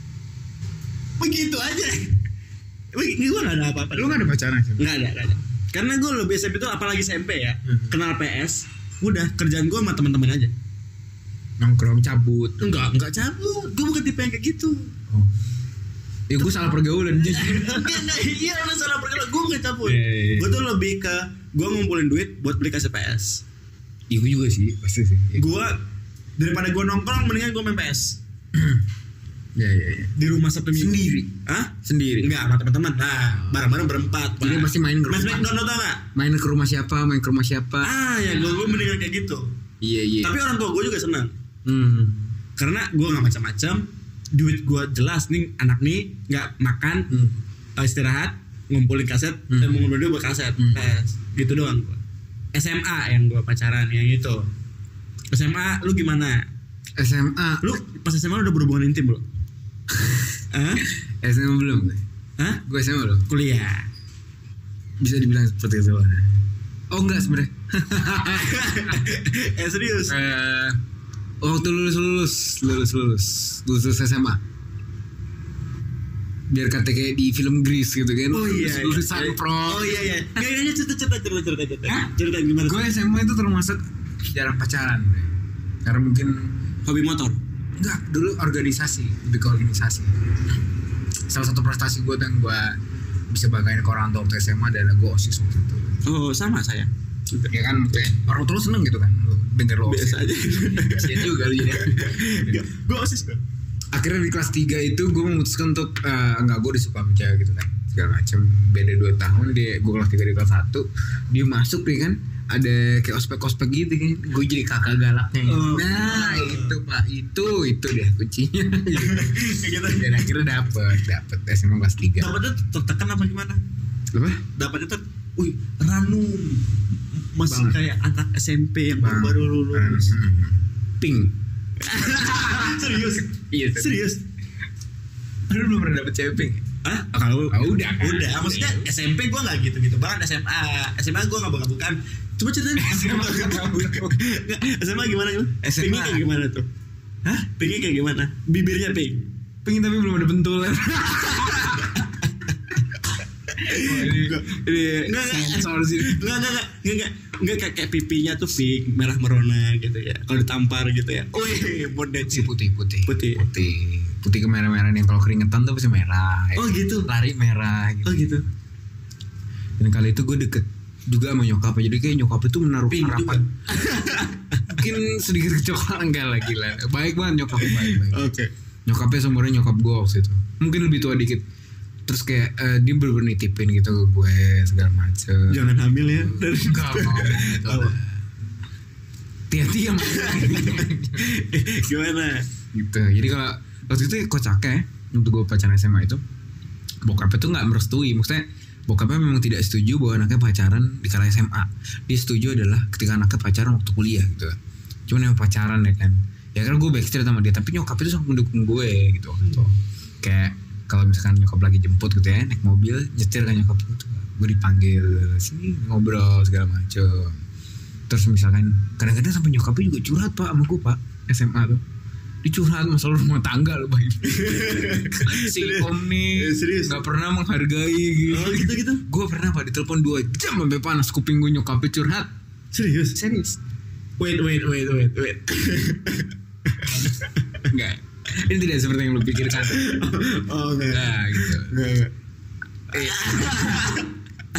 Begitu aja. Ini gue gak ada apa-apa.
lu gak ada pacaran SMP
Nggak ada, nggak ada. Karena gue lebih SMP tuh apalagi SMP ya.
Mhm.
Kenal PS, udah kerjaan gue sama teman-teman aja.
nongkrong cabut
Enggak, enggak cabut. Gue bukan tipe yang kayak gitu.
oh. ya gue salah pergaulan jujur
Enggak, enggak. Iya, orang salah pergaulan. Gue bukan cabut.
Iya, iya, iya.
Gue tuh lebih ke gue ngumpulin duit buat beli kaset PS.
ya gue juga sih pasti sih ya
Gue daripada gue nongkrong mendingan gue main PS
ya ya, ya.
di rumah Sabtu Minggu.
Sendiri?
Hah?
sendiri
Enggak, sama teman-teman. Nah, bareng-bareng berempat.
Jadi pasti main ke
Mas
rumah.
McDonald tau nggak?
main ke rumah siapa main ke rumah siapa
Ah, ya gue gue mendingan kayak gitu.
iya iya
Tapi orang tua gue juga senang.
hmm.
karena gue nggak macam-macam duit gue jelas nih anak nih nggak makan
Hmm.
eh, istirahat ngumpulin kaset
Hmm.
eh, ngumpulin duit buat kaset
Hmm.
PS. gitu doang gue SMA yang gue pacaran yang itu SMA lu gimana
SMA
lu pas SMA lu udah berhubungan intim belum Hah?
SMA belum
Hah?
gue SMA belum
kuliah
bisa dibilang seperti itu Pak. oh enggak sebenarnya
eh serius
Eh, waktu lulus lulus lulus lulus lulus SMA biar kata kayak di film Grease gitu kan
oh iya, iya.
lulusan pro
oh iya iya nggak nggak cerita cerita cerita cerita cerita cerita gimana
gue SMA itu termasuk jarang pacaran Bre. karena mungkin
hobi motor
enggak dulu organisasi lebih ke organisasi salah satu prestasi gue yang gue bisa banggain ke orang tua waktu SMA adalah gue osis waktu itu
oh sama saya
ya kan maksudnya orang tua lu seneng gitu kan lu denger lu osis
biasa aja Iya.
Kasian juga lu jadi
gue osis gue
akhirnya di kelas 3 itu gue memutuskan untuk eh, enggak gue disuka sama cewek gitu kan segala macam beda 2 tahun dia gue kelas 3 di kelas 1 dia masuk nih kan ada kayak ospek-ospek gitu kan gue jadi kakak galaknya gitu.
Oh.
nah itu pak itu itu deh kuncinya
kayak gitu
dan akhirnya dapet dapet SMA kelas 3
dapatnya tertekan apa gimana?
apa?
Dapatnya ter, wih ranum masih
Banget.
kayak anak SMP yang
Bang.
baru lulus.
Hmm. pink
serius,
iya serius
serius.
lu belum pernah dapet cewek pink
Hah? Ah, kalau
Ah, udah, kan?
udah. Maksudnya SMP gue nggak gitu-gitu banget SMA. SMA gue nggak bukan bukan. Coba ceritain SMA Nggak, SMA gimana gimana?
SMA.
Pinknya kayak gimana tuh? Hah? Pinknya kayak gimana? Bibirnya pink.
pink tapi belum ada bentulan
Ini enggak enggak soal sini. Enggak enggak enggak enggak enggak enggak kayak, kayak pipinya tuh fake merah merona gitu ya. Kalau ditampar gitu ya. Wih, bodet
Si putih putih.
Putih.
Putih. Putih kemerah-merahan yang kalau keringetan tuh pasti merah. ya.
Oh gitu.
Lari merah gitu.
Oh gitu.
Dan kali itu gue deket juga sama nyokapnya jadi kayak nyokap itu menaruh
Pink
harapan mungkin sedikit kecoklatan enggak lah gila baik banget nyokapnya baik baik
Oke.
nyokapnya seumurnya nyokap gue waktu itu mungkin lebih tua dikit terus kayak eh, dia bener-bener nitipin gitu ke gue segala macem
Jangan hamil ya. Dari
Enggak ya, mau gitu
Apa?
Tia-tia
Gimana?
Gitu Jadi kalau Waktu itu kocaknya Untuk gue pacaran SMA itu Bokapnya tuh gak merestui Maksudnya Bokapnya memang tidak setuju Bahwa anaknya pacaran Di kala SMA Dia setuju adalah Ketika anaknya pacaran Waktu kuliah gitu Cuman emang pacaran ya kan Ya kan gue backstreet sama dia Tapi nyokap itu sangat mendukung gue gitu waktu itu. Kayak kalau misalkan nyokap lagi jemput gitu ya Naik mobil Nyetir kan nyokap gitu Gue dipanggil Sini ngobrol segala macem terus misalkan kadang-kadang sampai nyokapnya juga curhat pak sama gue pak SMA tuh dicurhat masalah rumah tangga loh baik si om nih
Eh, serius?
nggak pernah menghargai gitu
Oh gitu gitu.
gue pernah pak ditelepon dua jam sampai panas kuping gue nyokapnya curhat
Serius?
serius
Wait wait wait wait wait.
enggak ini tidak seperti yang lo pikirkan
oh enggak.
nah gitu
Enggak enggak.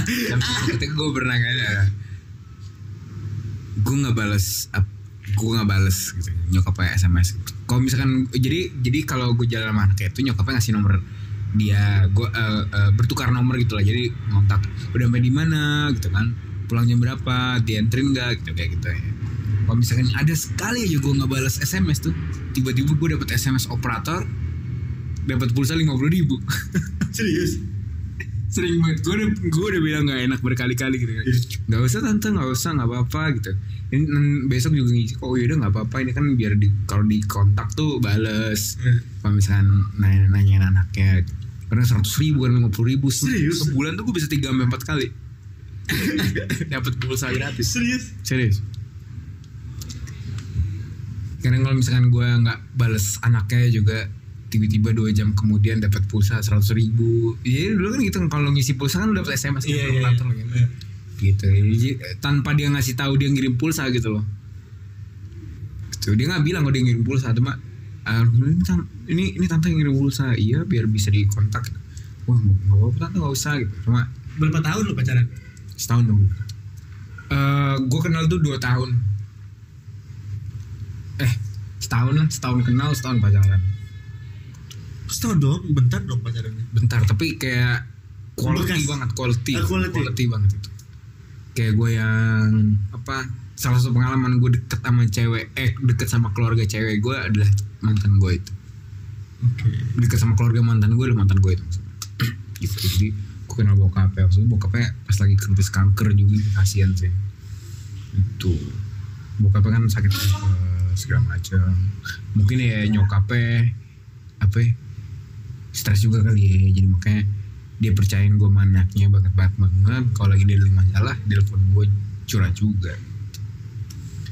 Kan ketika gue pernah kan gue nggak balas gue nggak balas gitu, nyokapnya sms kalau misalkan jadi jadi kalau gue jalan sama anaknya itu nyokapnya ngasih nomor dia gue bertukar nomor gitu lah jadi ngontak udah sampai di mana gitu kan pulang jam berapa dianterin nggak gitu kayak gitu ya kalau misalkan ada sekali aja gue nggak balas sms tuh tiba-tiba gue dapet sms operator dapat pulsa lima puluh ribu
Serius?
sering banget gue udah gue udah bilang nggak enak berkali-kali gitu nggak usah tante nggak usah nggak apa-apa gitu ini nan- besok juga ngisi oh yaudah nggak apa-apa ini kan biar di kalau di kontak tuh bales
Iya.
kalau misalkan nanya nanyain anaknya karena seratus ribu kan lima puluh ribu
Serius?
sebulan tuh gue bisa tiga sampai empat kali dapat pulsa gratis
Serius?
Serius. Karena kalau misalkan gue nggak bales anaknya juga tiba-tiba dua jam kemudian dapat pulsa seratus ribu. Iya dulu kan gitu kalau ngisi pulsa kan lu dapat SMS gitu,
Iya, iya,
operator
iya.
gitu. Gitu. Jadi, eh, tanpa dia ngasih tahu dia ngirim pulsa gitu loh. Gitu. Dia nggak bilang kalau dia ngirim pulsa, cuma "Ah, ini, tan- ini ini tante yang ngirim pulsa, iya biar bisa dikontak. Gitu. Wah nggak apa-apa tante nggak usah gitu. Cuma
Berapa tahun lu pacaran?
setahun dong Eh, gue kenal tuh dua tahun eh setahun lah setahun kenal setahun pacaran
Setahun dong, bentar dong pacarannya.
bentar tapi kayak quality
Bekas.
banget quality,
Ah, quality.
banget itu kayak gue yang apa salah satu pengalaman gue deket sama cewek eh deket sama keluarga cewek gue adalah mantan gue itu
Oke.
deket sama keluarga mantan gue lah mantan gue itu maksudnya gitu jadi gue kenal bokapnya waktu itu bokapnya pas lagi kritis kanker juga kasihan sih itu bokapnya kan sakit tipes, segala macam mungkin ya nyokapnya apa ya, stres juga kali ya jadi makanya dia percayain gue sama anaknya banget banget banget kalau lagi dia ada masalah dia telepon gue curhat juga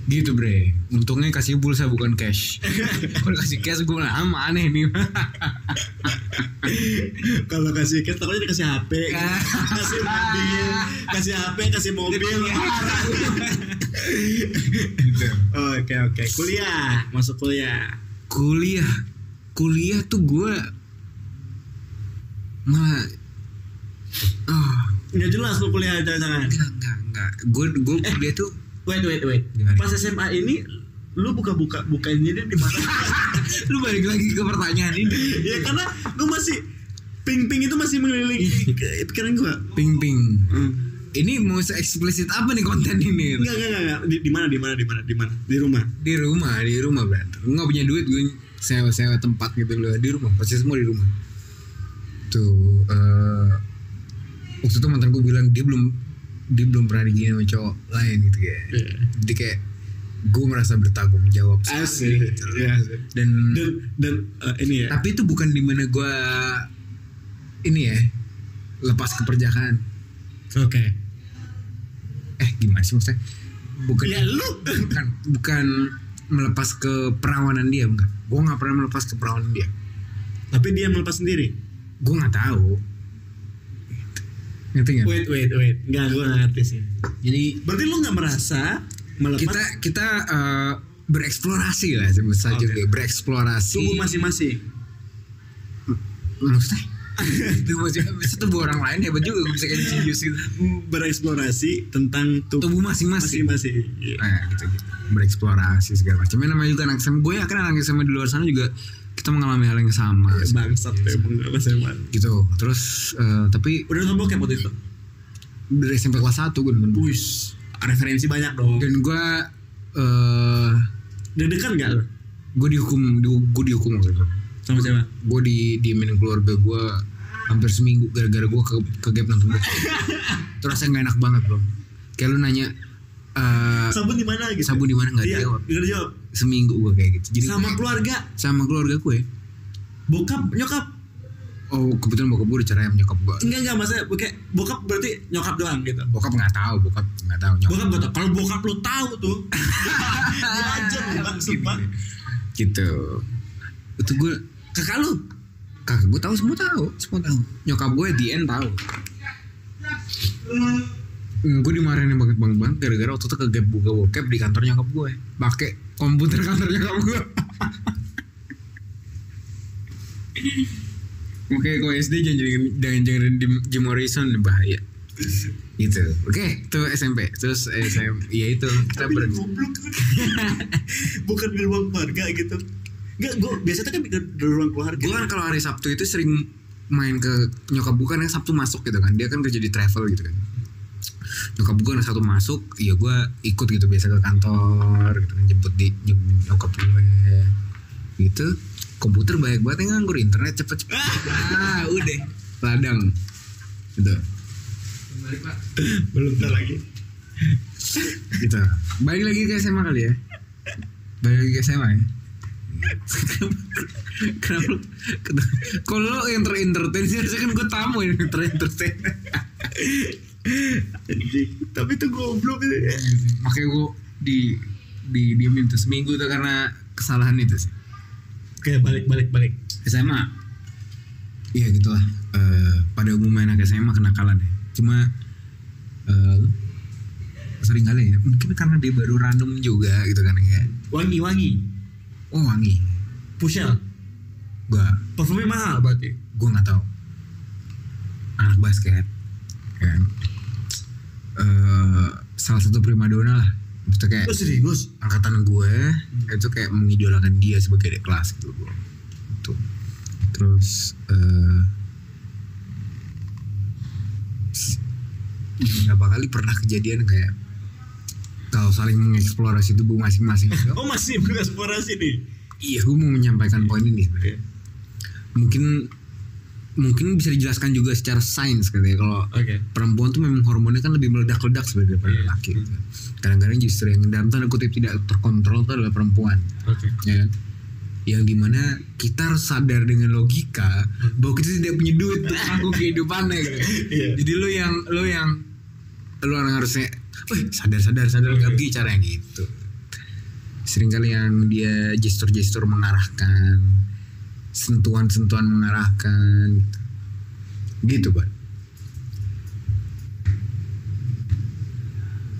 gitu bre untungnya kasih pulsa bukan cash kalau kasih cash gue malah "Ah, aneh nih
Kalau kasih cash takutnya dikasih HP, kasih mobil, kasih HP, kasih mobil.
gitu.
Oke oke. Kuliah, masuk kuliah.
kuliah kuliah tuh gue malah ah
Nggak jelas lu kuliah jangan-jangan.
enggak enggak enggak gue gue kuliah tuh
Wait wait wait.
Gimana?
Pas SMA ini lu buka-buka bukannya dia di mana?
lu balik lagi ke pertanyaan ini
ya karena gue masih ping-ping itu masih mengelilingi ke- pikiran gue.
ping ping
Hmm.
ini mau se eksplisit apa nih konten ini
Enggak enggak enggak, enggak. Di, di mana di mana di mana di mana di rumah.
di rumah di rumah brother nggak punya duit gue sewa sewa tempat gitu loh di rumah pasti semua di rumah tuh eh waktu itu mantan gue bilang dia belum dia belum pernah digini sama cowok lain gitu kayak
Iya.
jadi kayak gue merasa bertanggung jawab
Asik. Iya. asik.
dan,
Dan dan eh, ini ya.
tapi itu bukan dimana gue ini ya lepas keperjakaan
Oke.
eh gimana sih maksudnya bukan
Ya lu
bukan bukan melepas ke perawanan dia enggak gue nggak pernah melepas ke perawanan dia
Tapi dia melepas sendiri.
gue nggak tahu ngerti nggak
Wait wait wait, nggak gue nggak ngerti sih.
jadi
Berarti lu nggak merasa melepas
kita kita eh, bereksplorasi lah saja
Oke.
gitu bereksplorasi
tubuh masing-masing?
maksudnya tubuh masih tubuh orang lain hebat juga gua bisa kayak genius gitu
Bereksplorasi tentang tubuh
tubuh masing-masing
masing-masing. Iya.
Nah, gitu, gitu. bereksplorasi segala macam Ya, namanya juga anak SMA gue yakin anak SMA di luar sana juga kita mengalami hal yang sama
Bangsat tuh emang nggak merasa emang.
gitu terus eh, tapi
Iya, Udah nonton bokep waktu itu?
dari SMP kelas 1 gue nonton bokep.
Wis, referensi banyak dong.
dan gue eh
Deg-degan nggak lo?
gue dihukum di- gue dihukum waktu itu
Sama siapa?
gue di diemin keluarga gue hampir seminggu gara-gara gue ke ke gap nonton bokep terus rasanya nggak enak banget bro kayak lu nanya eh
Sabun di mana gitu?
sabun di mana nggak
Iya,
dijawab
nggak jawab.
seminggu gue kayak gitu jadi
Sama keluarga,
sama keluarga gue
bokap, nyokap.
oh kebetulan bokap gue udah cerai sama nyokap gue
Enggak enggak maksudnya bokep, bokap berarti nyokap doang gitu.
bokap nggak tahu bokap nggak tahu nyokap
Bokap gak tau. Kalau bokap lu tahu tuh. Wajar lu maksud bang.
gitu itu gue
Kakak lu
kakak gue tahu semua tahu semua tahu nyokap gue di end tahu gue dimarahin banget banget banget gara-gara waktu itu ke gap buka bokep di kantor nyokap gue pakai komputer kantor nyokap gue Oke, kalau SD jangan jangan jangan jangan di Jim Morrison bahaya. Gitu. Oke, itu SMP. Terus SM, ya itu kita
Tapi lu
ber
goblok Bukan di ruang keluarga gitu Enggak, gue biasanya kan di di ruang keluarga
gue kan kalau hari Sabtu itu sering main ke nyokap gue kan yang Sabtu masuk gitu kan dia kan kerja di travel gitu kan nyokap gue yang satu masuk ya gue ikut gitu biasa ke kantor gitu kan jemput di jemput nyokap gue gitu komputer banyak banget yang nganggur internet cepet cepet ah udah ladang gitu
Belum ntar lagi
gitu balik lagi ke SMA kali ya balik lagi ke SMA ya kenapa lu- kenapa- kalau lo yang terentertain sih harusnya kan gue tamu yang terentertain
Anjing. Tapi tuh goblok gitu
makanya gue di di diemin tuh seminggu tuh karena kesalahan itu sih
Oke, balik, balik, balik
SMA iya gitulah Eh, pada umumnya anak SMA kenakalan ya cuma eh, sering kali ya mungkin karena dia baru random juga gitu kan ya
Wangi, wangi
oh wangi
Pushel
gue
Parfumnya mahal berarti
gue nggak tahu anak basket kan Eh, salah satu primadona lah itu
Lu
kayak
Oh, serius?
angkatan gue itu kayak mengidolakan dia sebagai adik kelas gitu gue tuh terus eh, s- beberapa kali pernah kejadian kayak kalau saling mengeksplorasi tubuh masing-masing gitu.
Oh masih mengeksplorasi nih
Iya, gue mau menyampaikan poin ini sebenarnya. Mungkin mungkin bisa dijelaskan juga secara sains kali ya kalau
Oke
perempuan tuh memang hormonnya kan lebih meledak-ledak sebenarnya daripada
Iya.
laki. gitu. Kadang-kadang justru yang dalam tanda kutip tidak terkontrol itu adalah perempuan,
Oke
ya kan? Yang dimana kita harus sadar dengan logika bahwa kita tidak punya duit untuk melakukan kehidupannya gitu.
Iya.
Jadi lo yang lo yang lo yang harusnya, "Wih, sadar sadar sadar
Iya.
nggak begini caranya gitu." seringkali yang dia gestur-gestur mengarahkan sentuhan-sentuhan mengarahkan gitu, gitu Pak.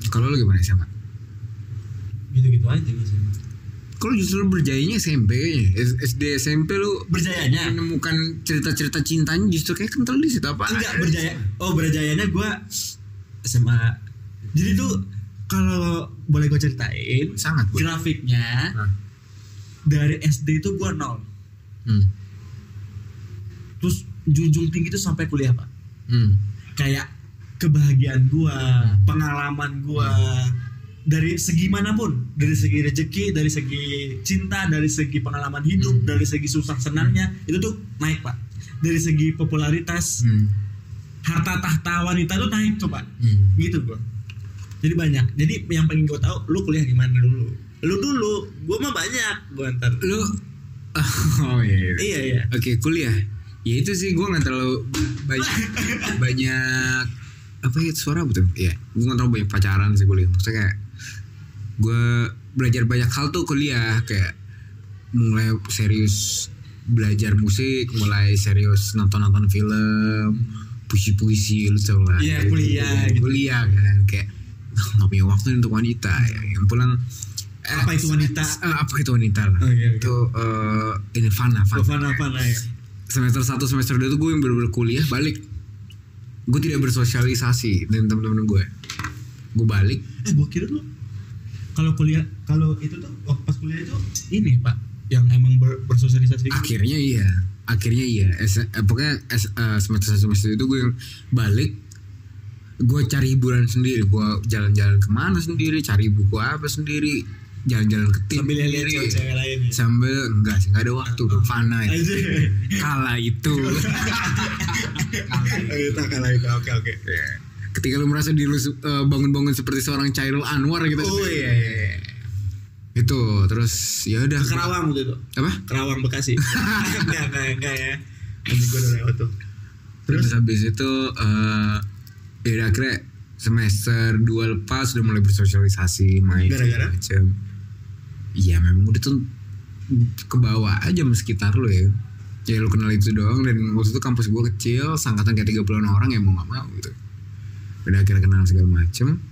kalau lu gimana sama
Gitu-gitu aja sih
kalau justru berjayanya SMP kayaknya S- SD SMP lu Iya.
Berjayanya?
menemukan cerita-cerita cintanya justru kayak kental di situ apa
Enggak, berjaya Oh berjayanya gue SMA Jadi tuh kalau boleh gue ceritain
sangat Bu.
grafiknya
Hah.
dari SD itu gua nol
hmm.
terus junjung tinggi itu sampai kuliah pak
Hmm.
kayak kebahagiaan gua pengalaman gua dari segi manapun dari segi rezeki dari segi cinta dari segi pengalaman hidup
Hmm.
dari segi susah senangnya itu tuh naik pak dari segi popularitas
Hmm.
harta tahta wanita tuh naik tuh pak
Hmm.
gitu gua jadi banyak jadi yang pengen gua tahu lu kuliah di mana dulu lu dulu gua mah banyak gua ntar
lu oh iya, iya.
iya iya
Oke kuliah Ya itu sih gue gak terlalu banyak Banyak Apa ya suara betul Iya Gue gak terlalu banyak pacaran sih kuliah Maksudnya kayak Gue belajar banyak hal tuh kuliah Kayak Mulai serius Belajar musik Mulai serius nonton-nonton film puisi-puisi lu tau lah
Iya,
Kayak
kuliah gitu.
kuliah kan kayak "Ah, nggak punya waktu nih untuk wanita ya yang pulang eh,
Apa itu wanita?
eh, apa itu wanita lah
Oke, oke.
itu eh, ini fana fana
Fana Fana ya.
semester 1 semester 2 tuh gue yang bener-bener kuliah balik gue tidak bersosialisasi dengan temen-temen gue gue balik
Eh gua kira lu kalau kuliah kalau itu tuh waktu pas kuliah itu ini pak yang emang ber- bersosialisasi gitu.
akhirnya iya akhirnya iya S- eh, pokoknya S- eh, semester 1 semester 2 itu gue yang balik gue cari hiburan sendiri gue jalan-jalan kemana sendiri cari buku apa sendiri jalan-jalan ke tim
sambil lihat Oh. cewek
sendiri.
Iya.
cewek lain. ya.
sambil enggak sih enggak ada waktu bro. fana itu.
Aja.
kala itu
tak kalah itu oke oke
Ya. ketika lu merasa diri lu se- eh, bangun-bangun seperti seorang Chairul Anwar gitu
oh iya iya iya.
itu terus ya udah
ke Kerawang waktu itu
apa
Kerawang Bekasi enggak enggak enggak ya Nanti gue udah lewat tuh
Terus habis itu eh ya udah akhirnya semester 2 lepas udah mulai bersosialisasi main
Gara-gara?
macam. Iya memang udah tuh ke bawah aja sama sekitar lu ya. Ya lu kenal itu doang dan waktu itu kampus gua kecil, sangkatan kayak 30-an orang ya mau gak mau gitu. Udah akhirnya kenal segala macem.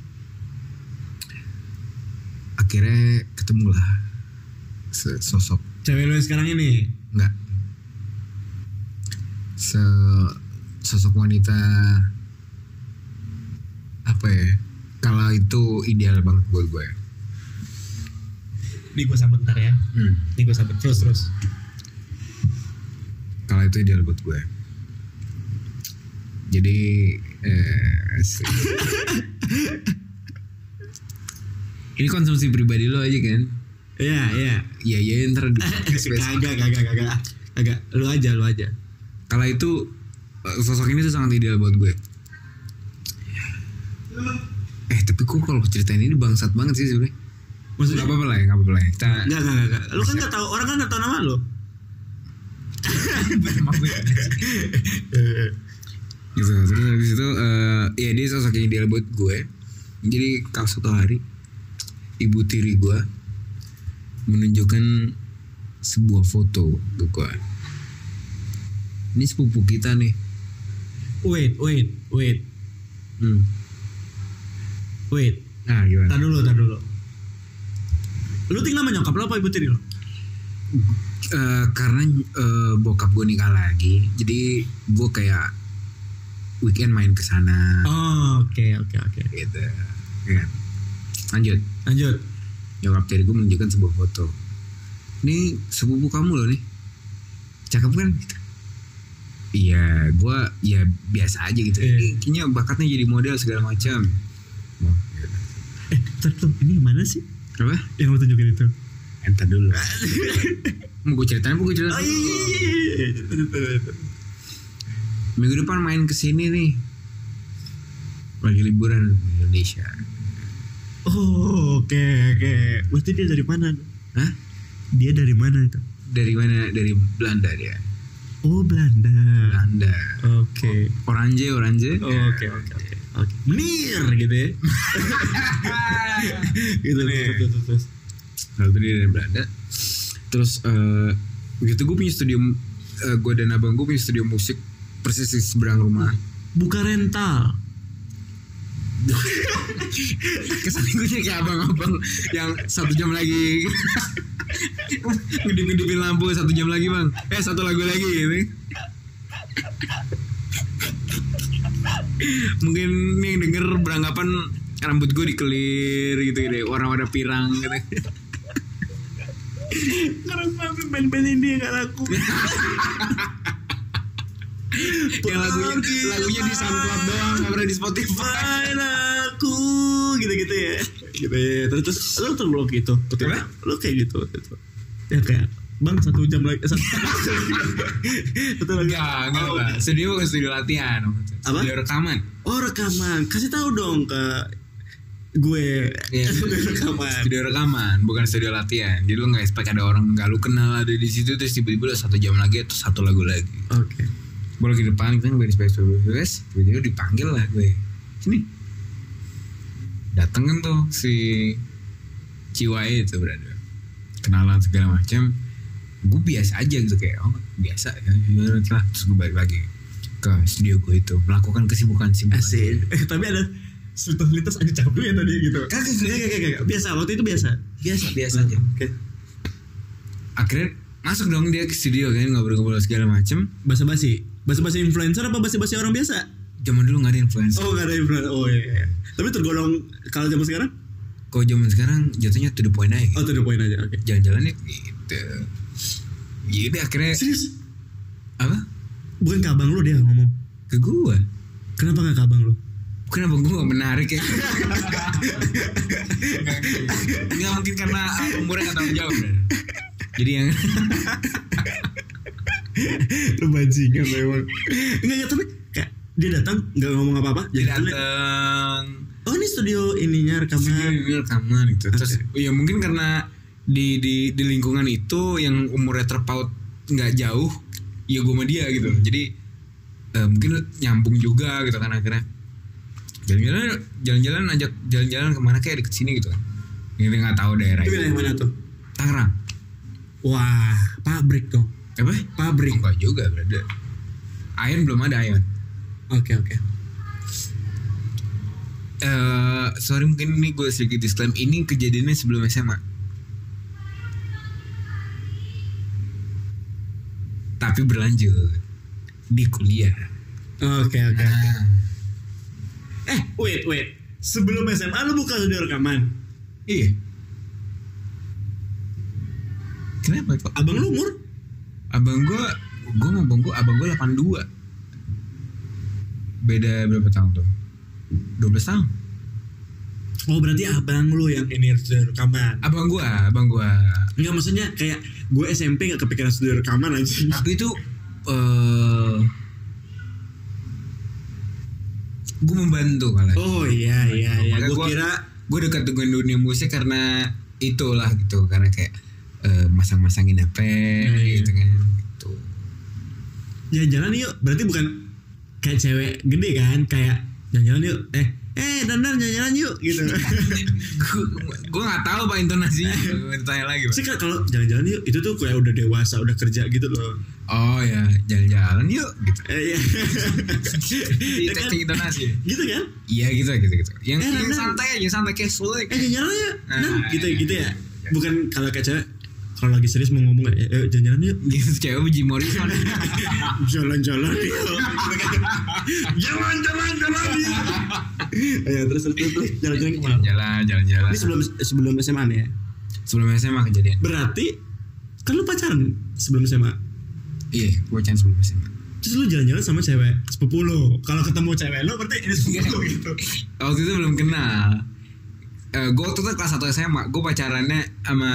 Akhirnya ketemu lah se- sosok
Cewek lu yang sekarang ini.
nggak se sosok wanita apa ya kalau itu ideal banget buat gue
Nih gua sambut ntar ya.
hmm.
Nih gua sambut terus terus.
kalau itu ideal buat gue jadi eh, asik. ini konsumsi pribadi lo aja kan
iya iya
iya iya ntar di podcast besok.
kagak kagak kagak kagak lu aja lu aja
Kala itu eh, sosok ini tuh sangat ideal buat gue. Eh tapi kok kalau ceritain ini bangsat banget sih sebenarnya.
Maksudnya?
Maksudnya apa-apa lah ya, nggak apa-apa lah ya. Kita
enggak enggak enggak, enggak lu kan nggak tahu orang kan nggak tahu nama lu
gitu. Terus habis itu eh, ya dia sosok yang ideal buat gue. Jadi kalau suatu hari ibu tiri gue menunjukkan sebuah foto ke gue. Ini sepupu kita nih.
Wait wait wait
Hmm.
wait.
Nah gimana?
Tar dulu tar dulu. Lu tinggal menyokap lu apa ibu tiri lu?
Eh, karena eh, bokap gue nikah lagi jadi gue kayak weekend main ke sana
Oh, oke oke oke.
gitu ya. lanjut
Lanjut.
nyokap tiri gue menunjukkan sebuah foto ini sepupu kamu loh nih cakep kan Gitu. iya gue ya biasa aja gitu
Iya.
Ini kayaknya bakatnya jadi model segala macam Wah, gitu.
Eh, tar dulu. Ini yang mana sih?
apa
Yang lu tunjukin itu.
entar dulu mau gue ceritain mau gue ceritain
oh
dulu?
iya iya iya
minggu depan main ke sini nih lagi liburan di Indonesia
Oh, oke oke. Berarti dia dari mana?
Hah?
Dia dari mana itu?
dari mana dari Belanda dia
Oh, Belanda.
Belanda
Oke.
Oranje Oranje
Oh, Oke oke oke. Oke. Menir gitu ya. gitu
Menir.
terus, terus, terus.
lalu dia dari Belanda terus eh gitu gue punya studio eh, gue dan abang gue punya studio musik persis di seberang rumah
Buka rental.
kesannya gue jadi kayak abang-abang yang satu jam lagi ngedip-ngedipin lampu satu jam lagi bang eh satu lagu lagi gitu mungkin nih yang denger beranggapan rambut gue dikelir gitu gitu warna-warna pirang gitu
karena gue main-main ini gak laku
Ya,
yang lagunya lagunya di SoundCloud doang nggak pernah di Spotify
main aku gitu-gitu ya gitu ya terus terus lu tuh blog gitu betul
Apa?
lu kayak gitu waktu itu.
Ya kayak Bang satu jam lagi satu,
betul lagi
enggak enggak
Oh,
Pak. studio bukan studio latihan
Apa?
studio rekaman
oh rekaman kasih tahu dong ke gue
Iya,
Studio rekaman
studio rekaman bukan studio latihan jadi lu nggak expect ada orang nggak lu kenal ada di situ terus tiba-tiba udah satu jam lagi atau satu lagu lagi
oke
gue lagi di depan kita beres beres beres beres tiba-tiba dipanggil lah gue sini dateng kan tuh si Ciwai itu berada kenalan segala macam gue biasa aja gitu kayak oh biasa ya ya, ya, ya." terus gue balik lagi ke studio gue itu melakukan kesibukan sibukan
Asik. Eh, tapi ada
Lintas aja cakep dulu ya tadi gitu.
kagak kagak kagak kagak. biasa waktu itu biasa.
biasa biasa aja
Oke.
akhirnya masuk dong dia ke studio kan ngobrol-ngobrol segala macem
Basa-basi. Basa-basi influencer apa basa-basi orang biasa?
zaman dulu nggak ada influencer
Oh, gak ada influencer. Oh iya. Tapi tergolong kalau zaman sekarang?
kalau zaman sekarang jatuhnya to the point aja
Oh, to the point aja. Oke.
jalan-jalan ya gitu jadi akhirnya
Serius?
apa
Bukan ke abang lu dia ngomong.
ke gua
Kenapa gak ke abang lu?
kenapa gua gak menarik ya nggak mungkin karena ah, umurnya nggak tanggung jawab Bro. jadi yang
lu bajingan memang. Enggak, enggak, tapi kayak dia datang nggak ngomong apa-apa. Jadi aneh.
datang
Oh, ini studio ininya rekaman.
studio rekaman Iya, gitu terus ya mungkin karena di di di lingkungan itu yang umurnya terpaut nggak jauh ya gue sama dia gitu jadi eh, mungkin nyambung juga gitu kan akhirnya jalan-jalan jalan-jalan ajak jalan-jalan kemana kayak deket sini gitu kan Gitu, nggak tahu daerah
Itu
itu.
wilayah mana tuh?
Tangerang
Wah, pabrik dong.
apa
Pabrik.
Oh, nggak juga berada Ayan belum ada Ayan
Oke, oke.
Eh, sorry mungkin ini gue sedikit disclaim ini kejadiannya sebelum SMA tapi berlanjut di kuliah
Oke, oke. oke.
nah,
Eh, wait, wait. Sebelum SMA lu buka studio rekaman.
iya kenapa kok
Abang lu umur?
abang gue gue mau abang gue abang gue 82 beda berapa tahun tuh 12 tahun
Oh, berarti abang lu yang ini studio rekaman.
abang gue abang gue
Enggak, maksudnya kayak gue SMP gak kepikiran studio rekaman aja.
tapi itu eh gue membantu malah
Oh iya, iya, iya.
Makanya
Gue
gua-
kira
gue dekat dengan dunia musik karena itulah gitu karena kayak eh, masang-masangin HP
iya.
gitu kan gitu.
jalan-jalan yuk. Berarti bukan kayak cewek gede kan? Kayak jalan-jalan yuk. Eh, eh, dandan jalan-jalan yuk gitu.
gue nggak tahu pak intonasinya
Iya.
Gua tanya lagi pak
Sih Kak, kalau jalan-jalan yuk itu tuh kayak udah dewasa, udah kerja gitu loh.
oh ya jalan-jalan yuk gitu
Eh, iya. Ya kan?
cek intonasi
gitu kan?
iya gitu gitu gitu yang,
Eh,
yang
Ramdan.
santai aja santai kayak slow aja.
Eh, jalan-jalan yuk.
Ah,
Nah, gitu
iya,
gitu ya.
iya, iya.
Bukan kalau kayak cewek kalau lagi serius mau ngomong eh, eh, jalan-jalan yuk.
gitu cewek Jim Morrison
jalan-jalan yuk. jalan-jalan jalan yuk. Ya terus terus terus jalan-jalan kemana?
jalan jalan-jalan
Ini sebelum sebelum SMA nih ya.
sebelum SMA kejadian
Berarti kan lu pacaran sebelum SMA.
Iya, gue chance sebelum SMA.
Terus lu jalan-jalan sama cewek sepupu lu. Kalau ketemu cewek lu berarti ini sepupu lu gitu.
Waktu itu belum kenal. Eh, gue waktu itu kelas 1 SMA, gue pacarannya sama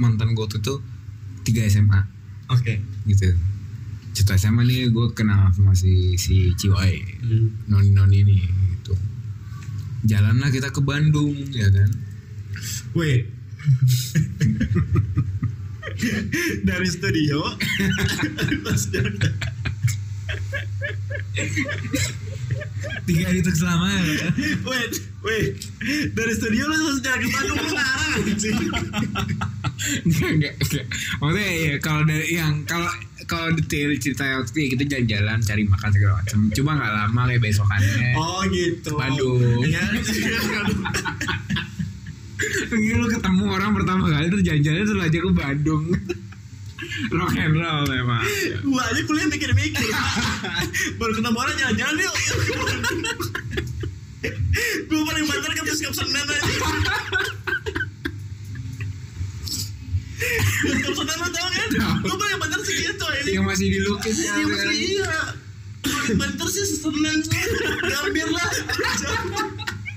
mantan gue waktu itu 3 SMA
Oke.
gitu. Cerita SMA nih gue kenal sama si, si Ciwai,
Hmm.
noni-noni ini gitu. Jalanlah kita ke Bandung ya kan.
Wait. Dari studio terus jalan.
Tiga hari itu selama ya.
Wait, wait. Dari studio lu terus jalan ke Bandung lu ngarang anjing.
Enggak, enggak, enggak. Maksudnya ya kalau dari yang kalau kalau detail cerita waktu itu ya kita jalan-jalan cari makan segala macam. Cuma nggak lama kayak besokannya.
Oh gitu.
Bandung.
Ya.
Pengen lu ketemu orang pertama kali terus jalan-jalan terus aja ke Bandung. Rock and roll memang.
Gua aja kuliah mikir-mikir. Baru ketemu orang jalan-jalan yuk. Gue paling banter kan ke puskap Senen aja. Puskap Senen lo tau kan? Gue paling banter sih gitu ini.
Yang masih dilukis ya.
Iya masih iya. Paling banter sih Senen. Gambir lah.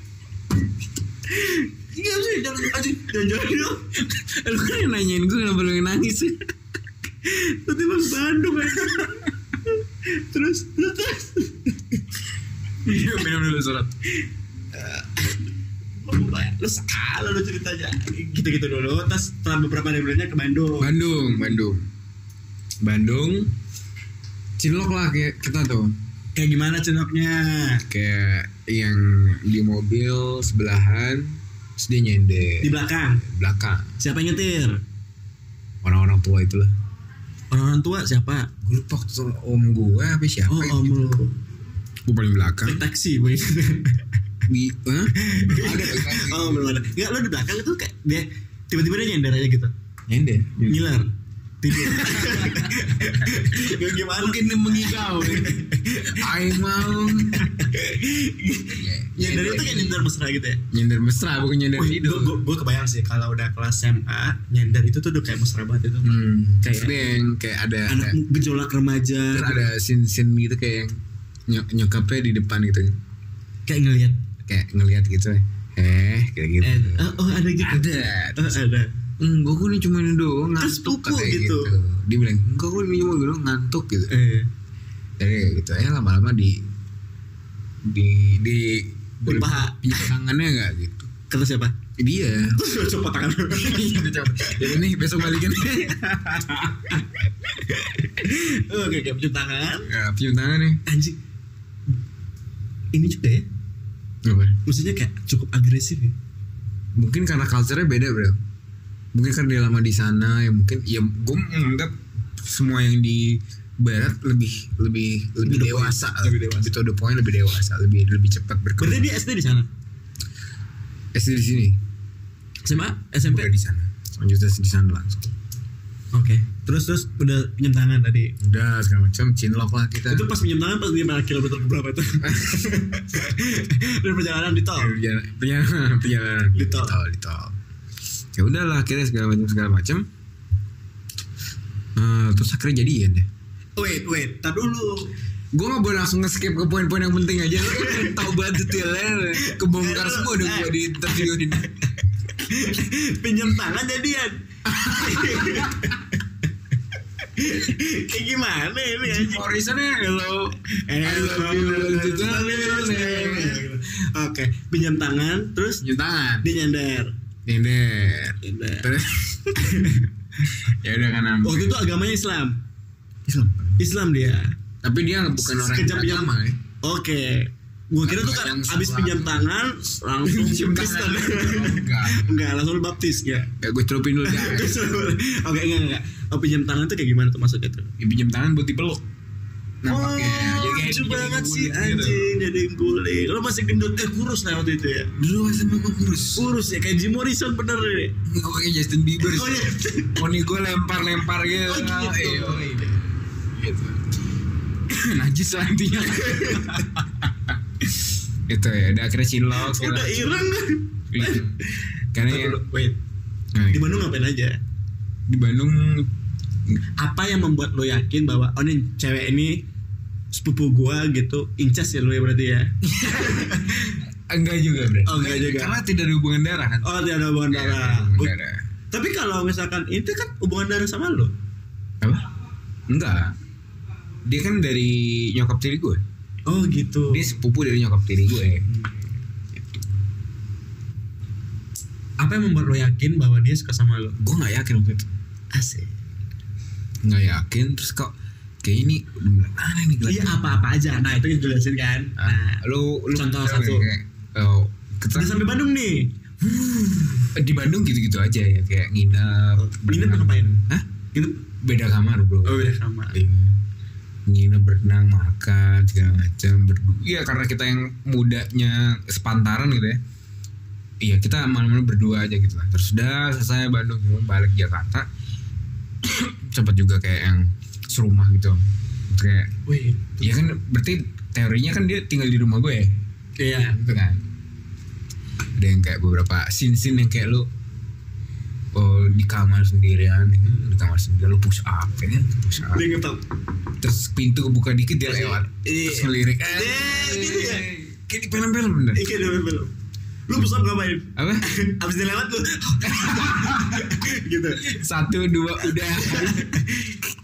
Enggak sih, jangan aja jalan-jalan yuk.
Lu kan yang nanyain gue kenapa lu yang nangis sih?
Nanti bang Bandung aja. Terus, terus, terus. Iya,
Minum dulu surat.
lu salah lu ceritanya gitu-gitu dulu terus setelah beberapa hari berikutnya ke Bandung
Bandung, Bandung. Bandung. Cilok lah kayak kita tuh.
kayak gimana cenoknya
Kayak yang di mobil sebelahan terus dia nyender
di belakang
belakang
siapa yang nyetir
orang-orang tua itulah
orang-orang tua siapa
gue lupa waktu itu om gue apa siapa gitu.
oh om lu
gue paling belakang
Naik taksi boy
di Hah? Belum ada belum ada.
oh belum ada nggak lu di belakang itu kayak dia tiba-tiba dia nyender aja gitu
nyender
ngiler tidur Ya, gimana
mungkin mengigau aing mau
nyender Ya, itu kayak nyender mesra gitu ya
nyender mesra bukan nyender
Wih,
hidup
gue gue kebayang sih kalau udah kelas SMA nyender itu tuh udah kayak mesra banget itu
hmm,
Kayak-
maksudnya yang kayak ada
anak
kayak-
gejolak remaja
terus ada scene scene gitu kayak yang nyok- nyokapnya di depan gitu
kayak ngelihat
kayak ngelihat gitu eh kayak gitu
eh, oh, oh, ada gitu
ada
Oh, ada
enggak gue ini cuma ini doang
Terus
ngantuk
pupuk
katanya
gitu.
gitu. dia bilang enggak gue ini cuma gitu ngantuk gitu
eh,
jadi kayak gitu eh lama-lama di di di
di paha
di tangannya enggak gitu
kata siapa
dia
coba tangan Iya.
yang ini besok balikin
oke oke cium tangan
ya, cium tangan nih
anjing ini juga ya
Apa?
maksudnya kayak cukup agresif ya
mungkin karena culture-nya beda bro mungkin karena dia lama di sana ya mungkin ya gue menganggap semua yang di barat lebih lebih lebih
the
dewasa
point.
lah.
Lebih dewasa.
lebih to the point lebih dewasa lebih lebih cepat
berarti
berkembang
dia SD di sana
SD di sini
SMA SMP
udah di sana lanjutnya di sana langsung
oke terus terus udah pinjam tangan tadi
udah segala macam cinlok lah kita
itu pas pinjam tangan pas dia mana kilometer berapa itu dari perjalanan di tol
perjalanan perjalanan perjalanan
Di
di
tol.
tol di tol ya udahlah akhirnya segala macam segala macam Eh, terus akhirnya jadian deh
wait wait tar dulu
gue nggak boleh langsung nge-skip ke poin-poin yang penting aja Lu kan tahu banget detailnya kebongkar semua dong gue di interview ini
pinjam tangan jadian kayak gimana ini anjing
Morrison-nya hello
Oke, pinjam tangan, terus
Cium tangan
dia nyender.
nyender
Nyender.
terus ya udah kan Am.
Waktu itu agamanya Islam,
Islam
Islam dia.
tapi dia bukan orang
Sekejap pinjam-
yang agama ya
Oke, gua kira tuh kan
Yang
abis
sebelah.
pinjam tangan langsung
Cium
Kristen.
tangan. Enggak.
Enggak, langsung baptis ya.
Ya gue celupin dulu guys.
Oke, enggak enggak. Oh, pinjam tangan tuh kayak gimana tuh maksudnya tuh?
Ya, pinjam tangan buat dipeluk. Nampaknya.
oh,
kayak
lucu
jadi
banget
guling
sih
gitu.
anjing jadi guling. Lo masih gendut eh kurus lah waktu itu ya.
Dulu sama gue kurus.
Kurus ya kayak Jim Morrison bener nih.
Gue kayak Justin Bieber.
Oh, iya.
Poni gue lempar-lempar gitu.
Oh, gitu.
Iya, iya. Gitu. Najis lah intinya. itu ya, udah akhirnya cilok.
Udah
cilok.
ireng.
Iya. Karena ya,
Wait,
nah,
di Bandung ngapain aja?
di Bandung
Apa yang membuat lo yakin bahwa oh ini cewek ini sepupu gua gitu incas ya lo ya berarti ya?
enggak juga bro.
Oh, enggak juga.
Karena tidak ada hubungan darah kan.
Oh tidak ada hubungan
Tidak ada
darah.
hubungan
Bu-
darah.
Tapi kalau misalkan itu kan hubungan darah sama lo.
apa enggak dia kan dari nyokap tiri gue
Oh gitu.
dia sepupu dari nyokap tiri ya. gue
Apa yang membuat lo yakin bahwa dia suka sama lo?
gue nggak yakin waktu itu
Asik.
nggak yakin terus kok kayak ini bener aneh
Iya
nih kelihatannya.
apa-apa aja. Nah itu jelasin kan. Nah,
Ah, lu lu
Contoh
kayak-
satu.
kayak, oh, kita
udah sampai Bandung nih.
di Bandung gitu-gitu aja ya kayak nginep
Nginep
berenang.
ngapain?
Hah?
Gitu.
beda kamar bro
Oh udah sama.
Iya. nginep berenang makan segala macam berdua iya karena kita yang mudanya sepantaran gitu ya iya kita malam-malam berdua aja gitu lah terus udah selesai Bandung cuma balik Jakarta sempat juga kayak yang serumah gitu kayak
Wih.
ya kan berarti teorinya kan dia tinggal di rumah gue ya
Iya.
gitu kan ada yang kayak beberapa scene scene yang kayak lu oh, di kamar sendirian ya kan? di kamar sendirian lu push up ya kan? push up
Dia ngetop.
terus pintu kebuka dikit dia lewat
Iya.
terus ngelirik iya,
Eh, gitu ya?
kayak di film-film bener
Iya belum belum. Lu push up ngapain?
apa
Abis dia lewat lu Gitu
satu dua udah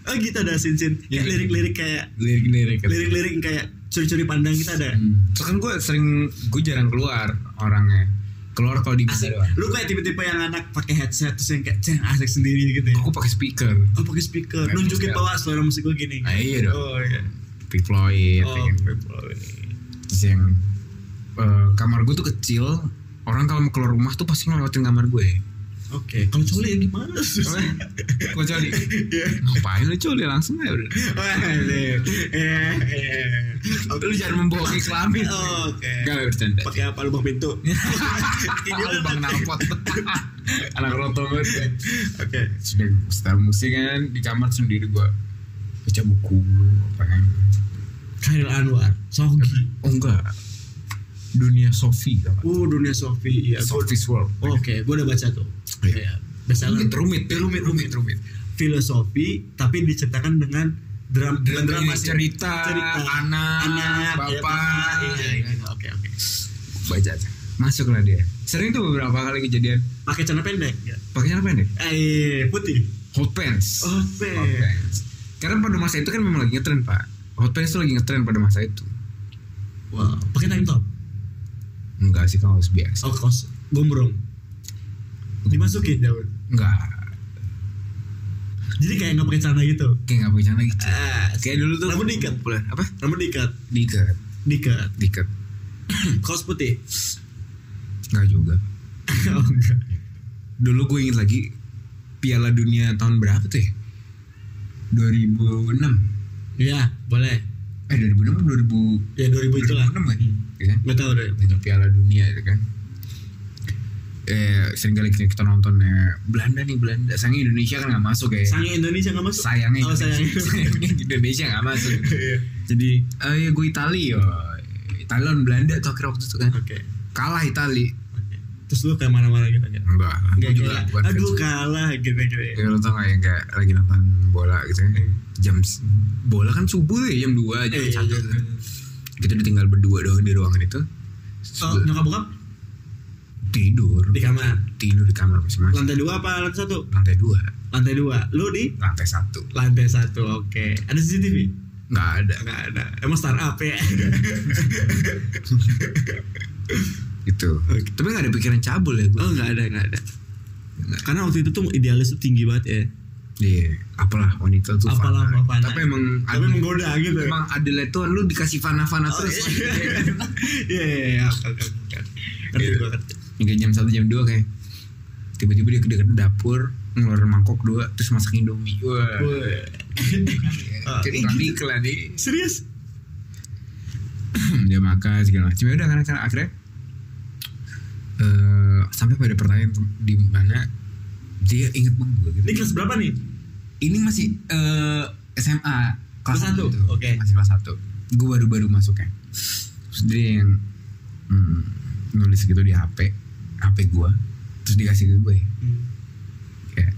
Oh gitu ada sin-sin
Iya.
Kayak lirik-lirik kayak
lirik-lirik
Lirik-lirik kayak curi-curi pandang kita ada
Hmm. Terus kan gue sering gue jarang keluar orangnya keluar kalau di
Asik
gua doang
Lu kayak tipe-tipe yang anak pakai headset Terus yang kayak ceng asik sendiri gitu ya
aku pakai speaker
Oh pakai speaker
Kayak
Nunjukin
musik.
bawah suara musik gue gini
nah iya dong
Oh iya
Pink Floyd
Oh,
Iya, pengen gue. Terus yang eh, kamar gue tuh kecil orang kalau mau keluar rumah tuh pasti ngelewatin kamar gue
Oke.
Kalau coli ya gimana? Susah.
Kau coli. Iya. Ngapain lu coli langsung aja udah. Iya,
Waduh. Eh, eh.
Lu jangan membohongi kelamin.
Oke.
Gak Iya. lah bercanda.
Pakai apa lubang pintu?
Ini bang narkot. Anak roto banget.
Oke.
Sudah setelah musik kan di kamar sendiri gua baca buku apa kan.
Khairil Anwar, Sogi.
Oh enggak. Dunia Sofi tau nggak?
Uh, dunia Sofi. Iya. gua-
Sofi's Ya, World.
Oke, gue udah baca tuh. Iya. Biasanya
Rumit, Oh, rumit, rumit, rumit, rumit.
filosofi tapi diceritakan dengan dram
Dan
drama
drama cerita, anak,
ya,
bapak,
iya,
ya
iya,
kan?
iya, oke oke
baca aja. Masuklah dia. Sering tuh beberapa kali kejadian.
pakai celana pendek ya
Pakainya apa nih?
eh putih
Hot pants.
oh
Hot pants. Karena pada masa itu kan memang lagi ngetren pak. Hot pants tuh lagi ngetren pada masa itu.
wow pakai tank top
Enggak sih kaos biasa.
oh kos gombrong dimasukin daun
Enggak.
jadi kayak nggak pakai celana gitu
Kayak nggak pakai celana gitu.
ah
Kayak dulu tuh.
Rambut diikat.
Bulan apa?
rambut diikat
Diikat.
diikat
Diikat.
kaos putih
Enggak juga.
oh enggak
Dulu gue inget lagi Piala Dunia tahun berapa tuh ya? 2006.
ya boleh
Eh 2006 atau 2000
ya 2000 itulah
2006 kan? Iya kan?
nggak tahu deh
Itu Piala Dunia itu kan. Eh sering kali kita nontonnya Belanda nih Belanda. Sayangnya Indonesia kan nggak masuk ya.
sange Indonesia nggak masuk
sayangnya
Oh, sayangnya.
sayangnya Indonesia nggak masuk jadi eh ya gue Itali yo Itali lawan Belanda tuh akhir waktu itu kan
oke
kalah Itali
oke terus lu kayak marah-marah gitu kan
enggak
Gak
gue juga
kayak,
bukan
aduh
fans.
kalah gitu-gitu ya.
Ya, lo tau gak yang kayak lagi nonton bola gitu kan jam s- bola kan subuh tuh ya jam 2 jam
Eh,
satu
iya,
gitu kan. kita ditinggal berdua doang di ruangan itu
Oh, nyokap bokap
tidur
di kamar.
tidur di kamar masing-masing
Lantai dua apa lantai satu?
lantai dua
Lantai dua. Lu di
lantai satu
lantai satu. Oke. Ada CCTV?
nggak ada
Enggak ada. Emang startup ya.
gitu
Oke.
tapi nggak ada pikiran cabul ya gue
oh, enggak ada, enggak ada.
Nggak.
Karena waktu itu tuh idealis tuh tinggi banget ya.
Iya, apalah wanita tuh
Apalah,
fana.
fana.
Tapi emang
Tapi menggoda gitu.
Emang Adele tuh lu dikasih fana-fana
Oh,
terus.
iya, iya, iya, iya, oke, oke, oke. Ngerti
Gitu.
gua, ngerti.
Hingga jam 1 jam 2 kayak tiba-tiba dia ke dekat dapur ngeluarin mangkok dua terus masak indomie wah
Weh. Ah,
jadi
iya
iklan iklan nih
Serius?
dia makan segala macam ya udah karena karena akhirnya eh, sampai pada pertanyaan tem- di mana dia inget banget gue gitu.
Ini kelas berapa nih?
ini masih eh, SMA
Kelas
kelas
satu,
satu,
oke.
masih kelas satu gue baru-baru masuknya terus dia yang hmm, nulis gitu di HP HP gue terus dikasih ke gue
Hmm.
kayak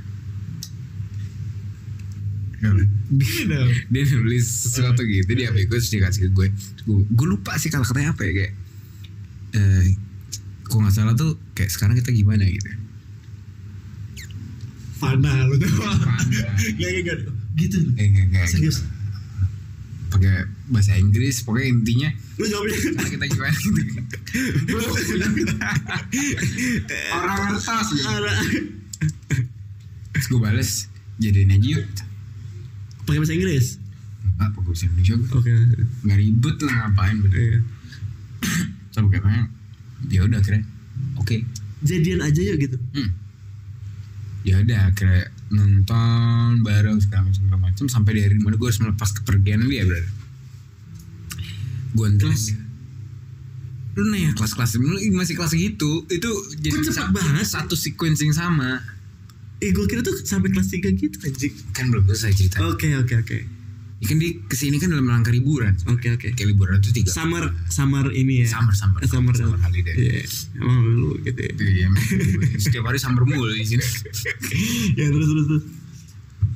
Gini dong.
dia nulis sesuatu gitu di HP gue terus dikasih ke gue gue, gue lupa sih kalau katanya apa ya kayak eh kok nggak salah tuh kayak sekarang kita gimana gitu
Fana lu tuh.
Fana.
Gak, gak, gak. Gitu.
Eh, kayak- kayak
Serius.
pakai bahasa Inggris pokoknya intinya
Lu jawabnya
sekarang kita gimana gitu orang kertas gitu Terus gue bales Jadiin aja yuk
pakai bahasa Inggris.
Enggak pakai bahasa Indonesia gue
Oke.
Gak ribet lah ngapain bener
Iya.
Terus pakai apanya? Ya udah akhirnya Oke
Jadian aja yuk gitu.
hmm. Ya udah akhirnya nonton bareng segala macam segala macam sampai di hari dimana gue harus melepas kepergian dia berarti gue
Kelas?
anterin dia. lu nanya kelas-kelas lu masih kelas gitu itu
Kok
jadi
cepet
sa-
banget?
satu sequencing sama
Eh gue kira tuh sampai kelas 3 gitu anjing.
kan belum selesai cerita
Oke oke oke.
Ya kan dia kesini kan dalam rangka liburan.
Oke oke.
Kayak liburan itu tiga.
Summer summer ini ya.
Summer, summer.
summer.
Summer holiday.
Iya. Emang lu gitu ya.
Itu ya, emang. Setiap hari summer mulu di sini.
ya terus terus terus.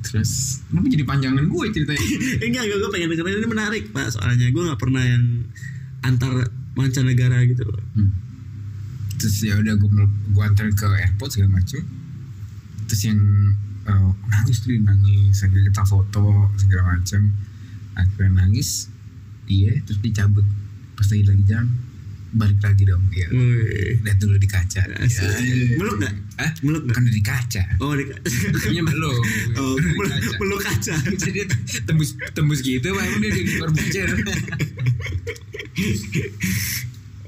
Terus, kenapa jadi panjangan gue ceritanya?
Eh, enggak enggak gue pengen dengerin ini menarik pak soalnya gue nggak pernah yang antar mancanegara gitu loh.
Hmm. Terus ya udah gue gue antar ke airport segala macem. Terus yang eh, nangis tuh dia nangis, sambil kita foto segala macem. Akhirnya nangis dia terus dicabut pas lagi lagi jam balik lagi dong dia
Wih.
lihat dulu di kaca
Asik.
Ya.
Meluk nggak?
Hah?
Meluk nggak?
kan udah di kaca
Oh, di-
Kayaknya belum.
oh
Di
meluk,
kaca.
meluk kaca.
Jadi tembus tembus gitu Pak emang dia di luar bucer.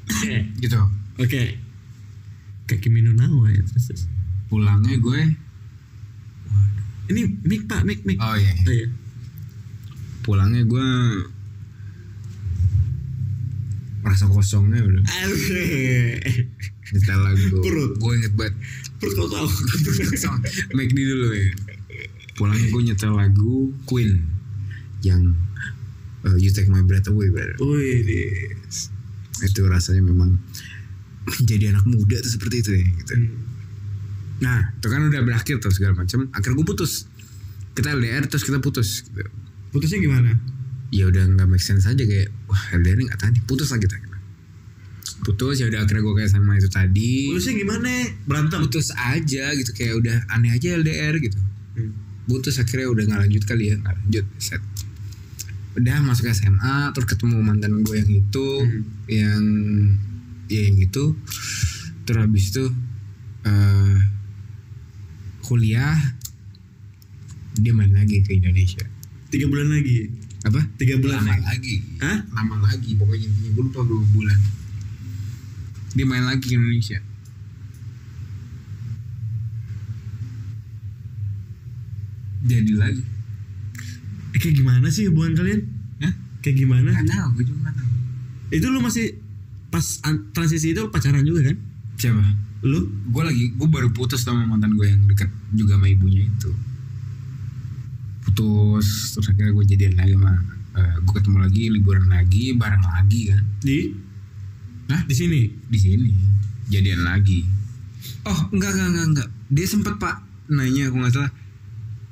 Oke.
gitu.
Oke. Kayak Kimi no Na wa ya terus. terus.
pulangnya gue
Ini mic pak, mic mic.
oh iya
Oh, iya.
pulangnya gue merasa kosongnya udah
Asik.
nyetel lagu
Perut.
gue inget banget
Perut kau tahu.
Kosong. McD dulu ya pulangnya gue nyetel lagu Queen yang uh, You Take My Breath Away brother
Wih, di-
itu rasanya memang jadi anak muda tuh seperti itu ya gitu. Nah, itu kan udah berakhir tuh segala macam. Akhirnya gue putus. Kita LDR terus kita putus. Gitu.
Putusnya gimana?
Ya udah nggak make sense aja kayak wah LDR nggak tahan nih putus lah kita. Putus ya udah akhirnya gue kayak sama itu tadi.
Putusnya gimana? Berantem.
Putus aja gitu kayak udah aneh aja LDR gitu.
Hmm.
Putus akhirnya udah nggak lanjut kali ya nggak lanjut set. Udah masuk SMA terus ketemu mantan gue yang itu yang ya yang itu terus habis itu eh kuliah dia main lagi ke Indonesia
Tiga bulan lagi.
apa
Tiga bulan
lama
lagi.
lagi
Hah?
lama lagi pokoknya intinya gue lupa berapa bulan dia main lagi ke Indonesia jadi lagi
Eh, kayak gimana sih hubungan kalian?
Hah?
Kayak gimana?
nggak tahu gue juga nggak tahu
Itu lu masih pas an- transisi itu lu pacaran juga kan?
siapa
Lu?
gue lagi gue baru putus sama mantan gue yang deket juga sama ibunya itu putus terus akhirnya gue jadian lagi sama eh, gue ketemu lagi liburan lagi bareng lagi kan
Di?
Hah?
Di sini?
di sini jadian lagi oh enggak enggak enggak enggak dia sempat pak nanya aku nggak salah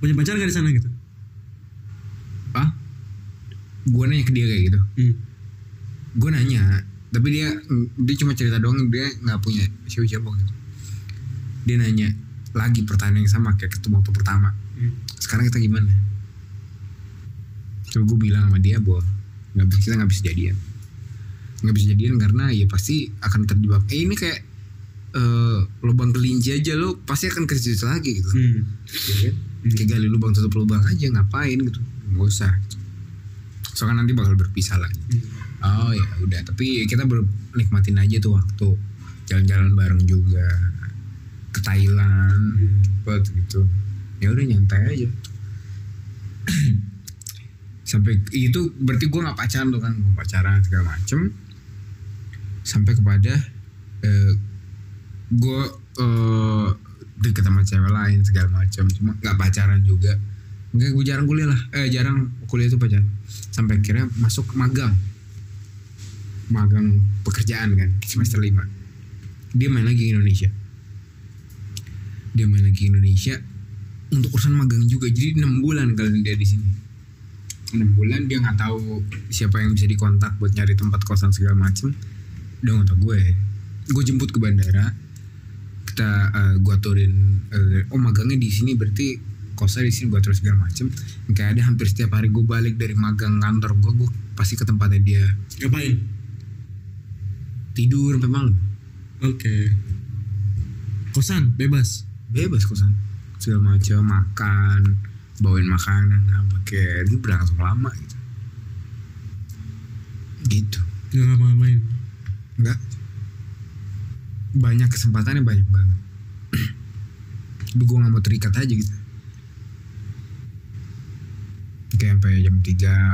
Punya pacar gak di sana gitu?
pak gue nanya ke dia kayak gitu
Hmm.
gue nanya tapi dia dia cuma cerita doang dia nggak punya siapa siapa gitu dia nanya lagi pertanyaan yang sama kayak ketemu waktu pertama
Hmm.
sekarang kita gimana coba gue bilang sama dia bahwa nggak bisa kita nggak bisa jadian nggak bisa jadian karena ya pasti akan terjebak eh ini kayak eh, lubang kelinci aja lo pasti akan ke situ lagi gitu
Hmm.
ya kan? Kayak gali lubang tutup lubang aja ngapain gitu nggak usah soalnya nanti bakal berpisah lagi oh ya udah tapi kita ber- nikmatin aja tuh waktu jalan-jalan bareng juga ke Thailand cepet gitu ya udah nyantai aja sampai itu berarti gue nggak pacaran tuh kan nggak pacaran segala macem sampai kepada eh, gue eh deket sama cewek lain segala macam cuma nggak pacaran juga nggak gue jarang kuliah lah eh jarang kuliah itu pacaran sampai akhirnya masuk magang magang pekerjaan kan semester 5 dia main lagi ke Indonesia dia main lagi ke Indonesia untuk urusan magang juga jadi enam bulan kali dia di sini enam bulan dia nggak tahu siapa yang bisa dikontak buat nyari tempat kosan segala macem udah ngontak gue gue jemput ke bandara kita eh, gua turin eh, oh magangnya di sini berarti kosnya di sini gua terus segala macem kayak ada hampir setiap hari gue balik dari magang kantor gue gue pasti ke tempatnya dia
Ngapain?
tidur sampai malam
Oke. Kosan bebas.
bebas kosan segala macam makan bawain makanan apa kayak itu berlangsung lama gitu gitu
Gak ngapa-ngapain.
enggak banyak kesempatannya banyak banget tapi gue gak mau terikat aja gitu kayak sampai jam 3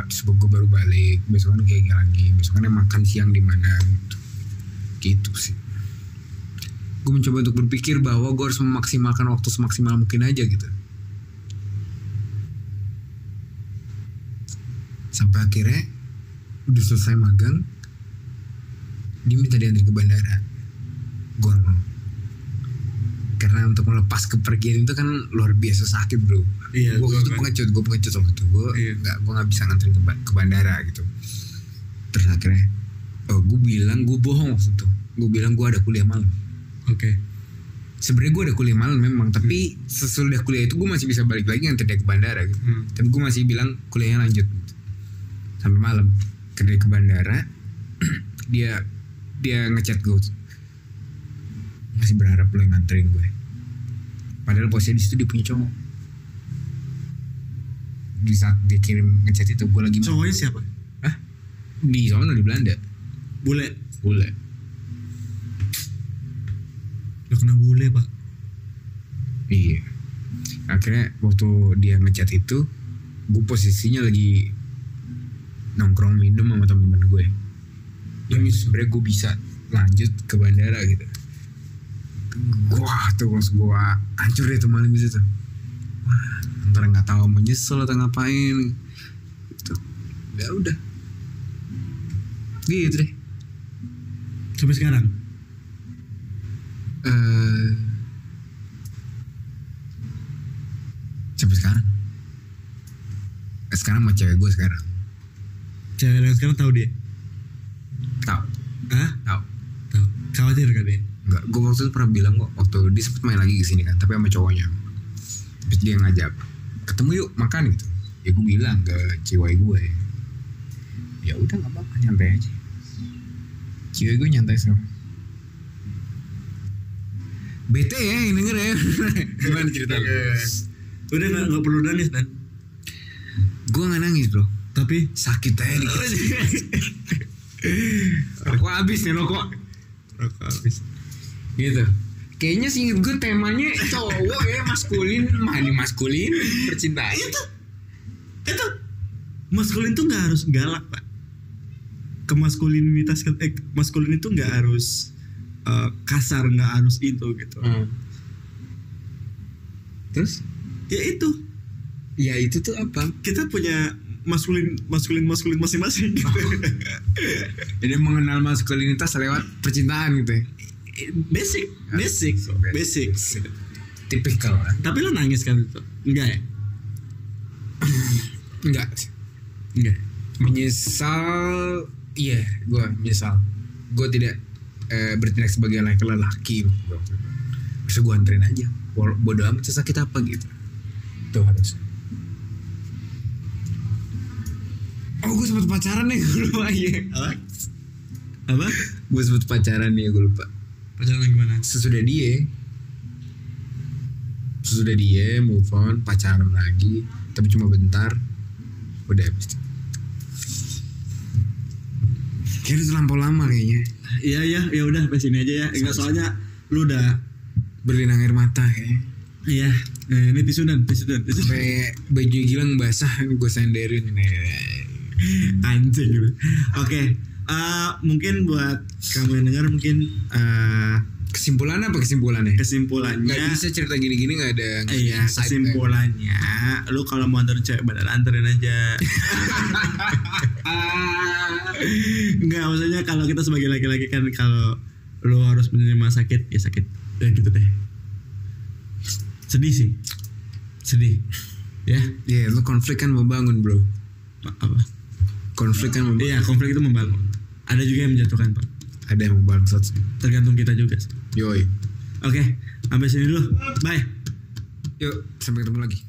terus gue baru balik besokan kayak gini lagi besokannya makan siang di mana gitu. gitu sih gue mencoba untuk berpikir bahwa gue harus memaksimalkan waktu semaksimal mungkin aja gitu sampai akhirnya udah selesai magang dia minta diantar ke bandara gue gak mau karena untuk melepas kepergian itu kan luar biasa sakit bro
Iya,
gue
gua
itu
kan-
pengecut gue pengecut waktu itu gue
Iya.
nggak gue nggak bisa nganterin ke, ba- ke bandara gitu terus akhirnya gue bilang gue bohong waktu itu gue bilang gue ada kuliah malam
Oke.
sebenarnya gue ada kuliah malam memang tapi sesudah kuliah itu gue masih bisa balik lagi nganter dia ke bandara gitu
Hmm.
tapi gue masih bilang kuliahnya lanjut gitu. sampai malam kerja ke bandara dia dia ngechat gue masih berharap lo yang nganterin gue padahal posisinya di situ dia punya cowok di saat dia kirim ngechat itu gue lagi
Cowoknya siapa?
Hah? di sono di Belanda
Bule.
bule
Lo kena bule, Pak.
Iya. Akhirnya waktu dia ngechat itu, gue posisinya lagi nongkrong minum sama teman-teman gue. Yang sebenarnya gue bisa lanjut ke bandara gitu. Wah tuh bos gue hancur deh tuh malam itu tuh. Wah, Antara nggak tahu menyesal atau ngapain. Gitu. Ya udah. Gitu deh.
Sampai sekarang.
eh sampai sekarang Eh, sekarang sama cewek gue sekarang
Cewek yang sekarang tahu dia?
tahu
Hah?
tahu
Tahu. Khawatir kan dia?
nggak gue waktu itu pernah bilang kok waktu dia sempet main lagi ke sini kan tapi sama cowoknya terus dia ngajak ketemu yuk makan gitu ya gue bilang ke cewek gue ya udah nggak apa-apa nyantai aja cewek gue nyantai sama bete ya yang denger ya gimana ceritanya
Iya. Udah nggak nggak perlu nangis dan.
gue nggak nangis bro
Tapi
sakit aja dikit rokok habis nih rokok
rokok habis.
gitu kayaknya sih gue temanya cowok ya maskulin mani maskulin percintaan
Itu, itu maskulin tuh nggak harus galak pak. Kemaskulinitas ke- eh, maskulin itu nggak harus eh, kasar nggak harus itu gitu.
Hmm. terus
Ya itu
ya itu tuh apa
kita punya maskulin maskulin maskulin masing-masing. gitu.
jadi mengenal maskulinitas lewat percintaan gitu ya
basic, Ah, basic, basic.
uh, tipikal kan
Tapi lo nangis kan itu? Enggak ya?
enggak
Enggak.
menyesal iya gue menyesal gue tidak eh, bertindak sebagai laki lelaki bisa gue anterin aja Wal- bodo amat sesakit apa gitu tuh harusnya oh gue sempet pacaran nih gue lupa iya
Apa? Apa?
gue sempet pacaran nih gue lupa
Pacaran gimana?
sesudah dia sesudah dia move on pacaran lagi tapi cuma bentar udah habis kayaknya udah terlampau lama kayaknya
Iya iya ya udah sampai sini aja ya. Enggak soalnya lu udah
berlinang air mata kayaknya
iya eh, ini tisu dan tisu dan tisu.
sampai baju gilang basah gue senderin
Anjing gitu. Oke. eh, mungkin buat kamu yang dengar mungkin eh,
kesimpulan apa kesimpulannya
kesimpulannya
nggak bisa cerita gini-gini nggak ada nggak ada
Iya,
insight,
kesimpulannya lu kalau mau anterin cewek badan anterin aja. Enggak, maksudnya kalau kita sebagai laki-laki kan kalau lu harus menerima sakit, ya sakit. Ya gitu deh. Sedih sih. Sedih. Ya,
ya lu konflik kan membangun bro
ma- apa?
konflik kan membangun
Iya, konflik itu membangun. Ada juga yang menjatuhkan, Pak.
ada yang membangun
Tergantung kita juga. sih.
yoi
Oke, sampai sini dulu. Bye.
yuk sampai ketemu lagi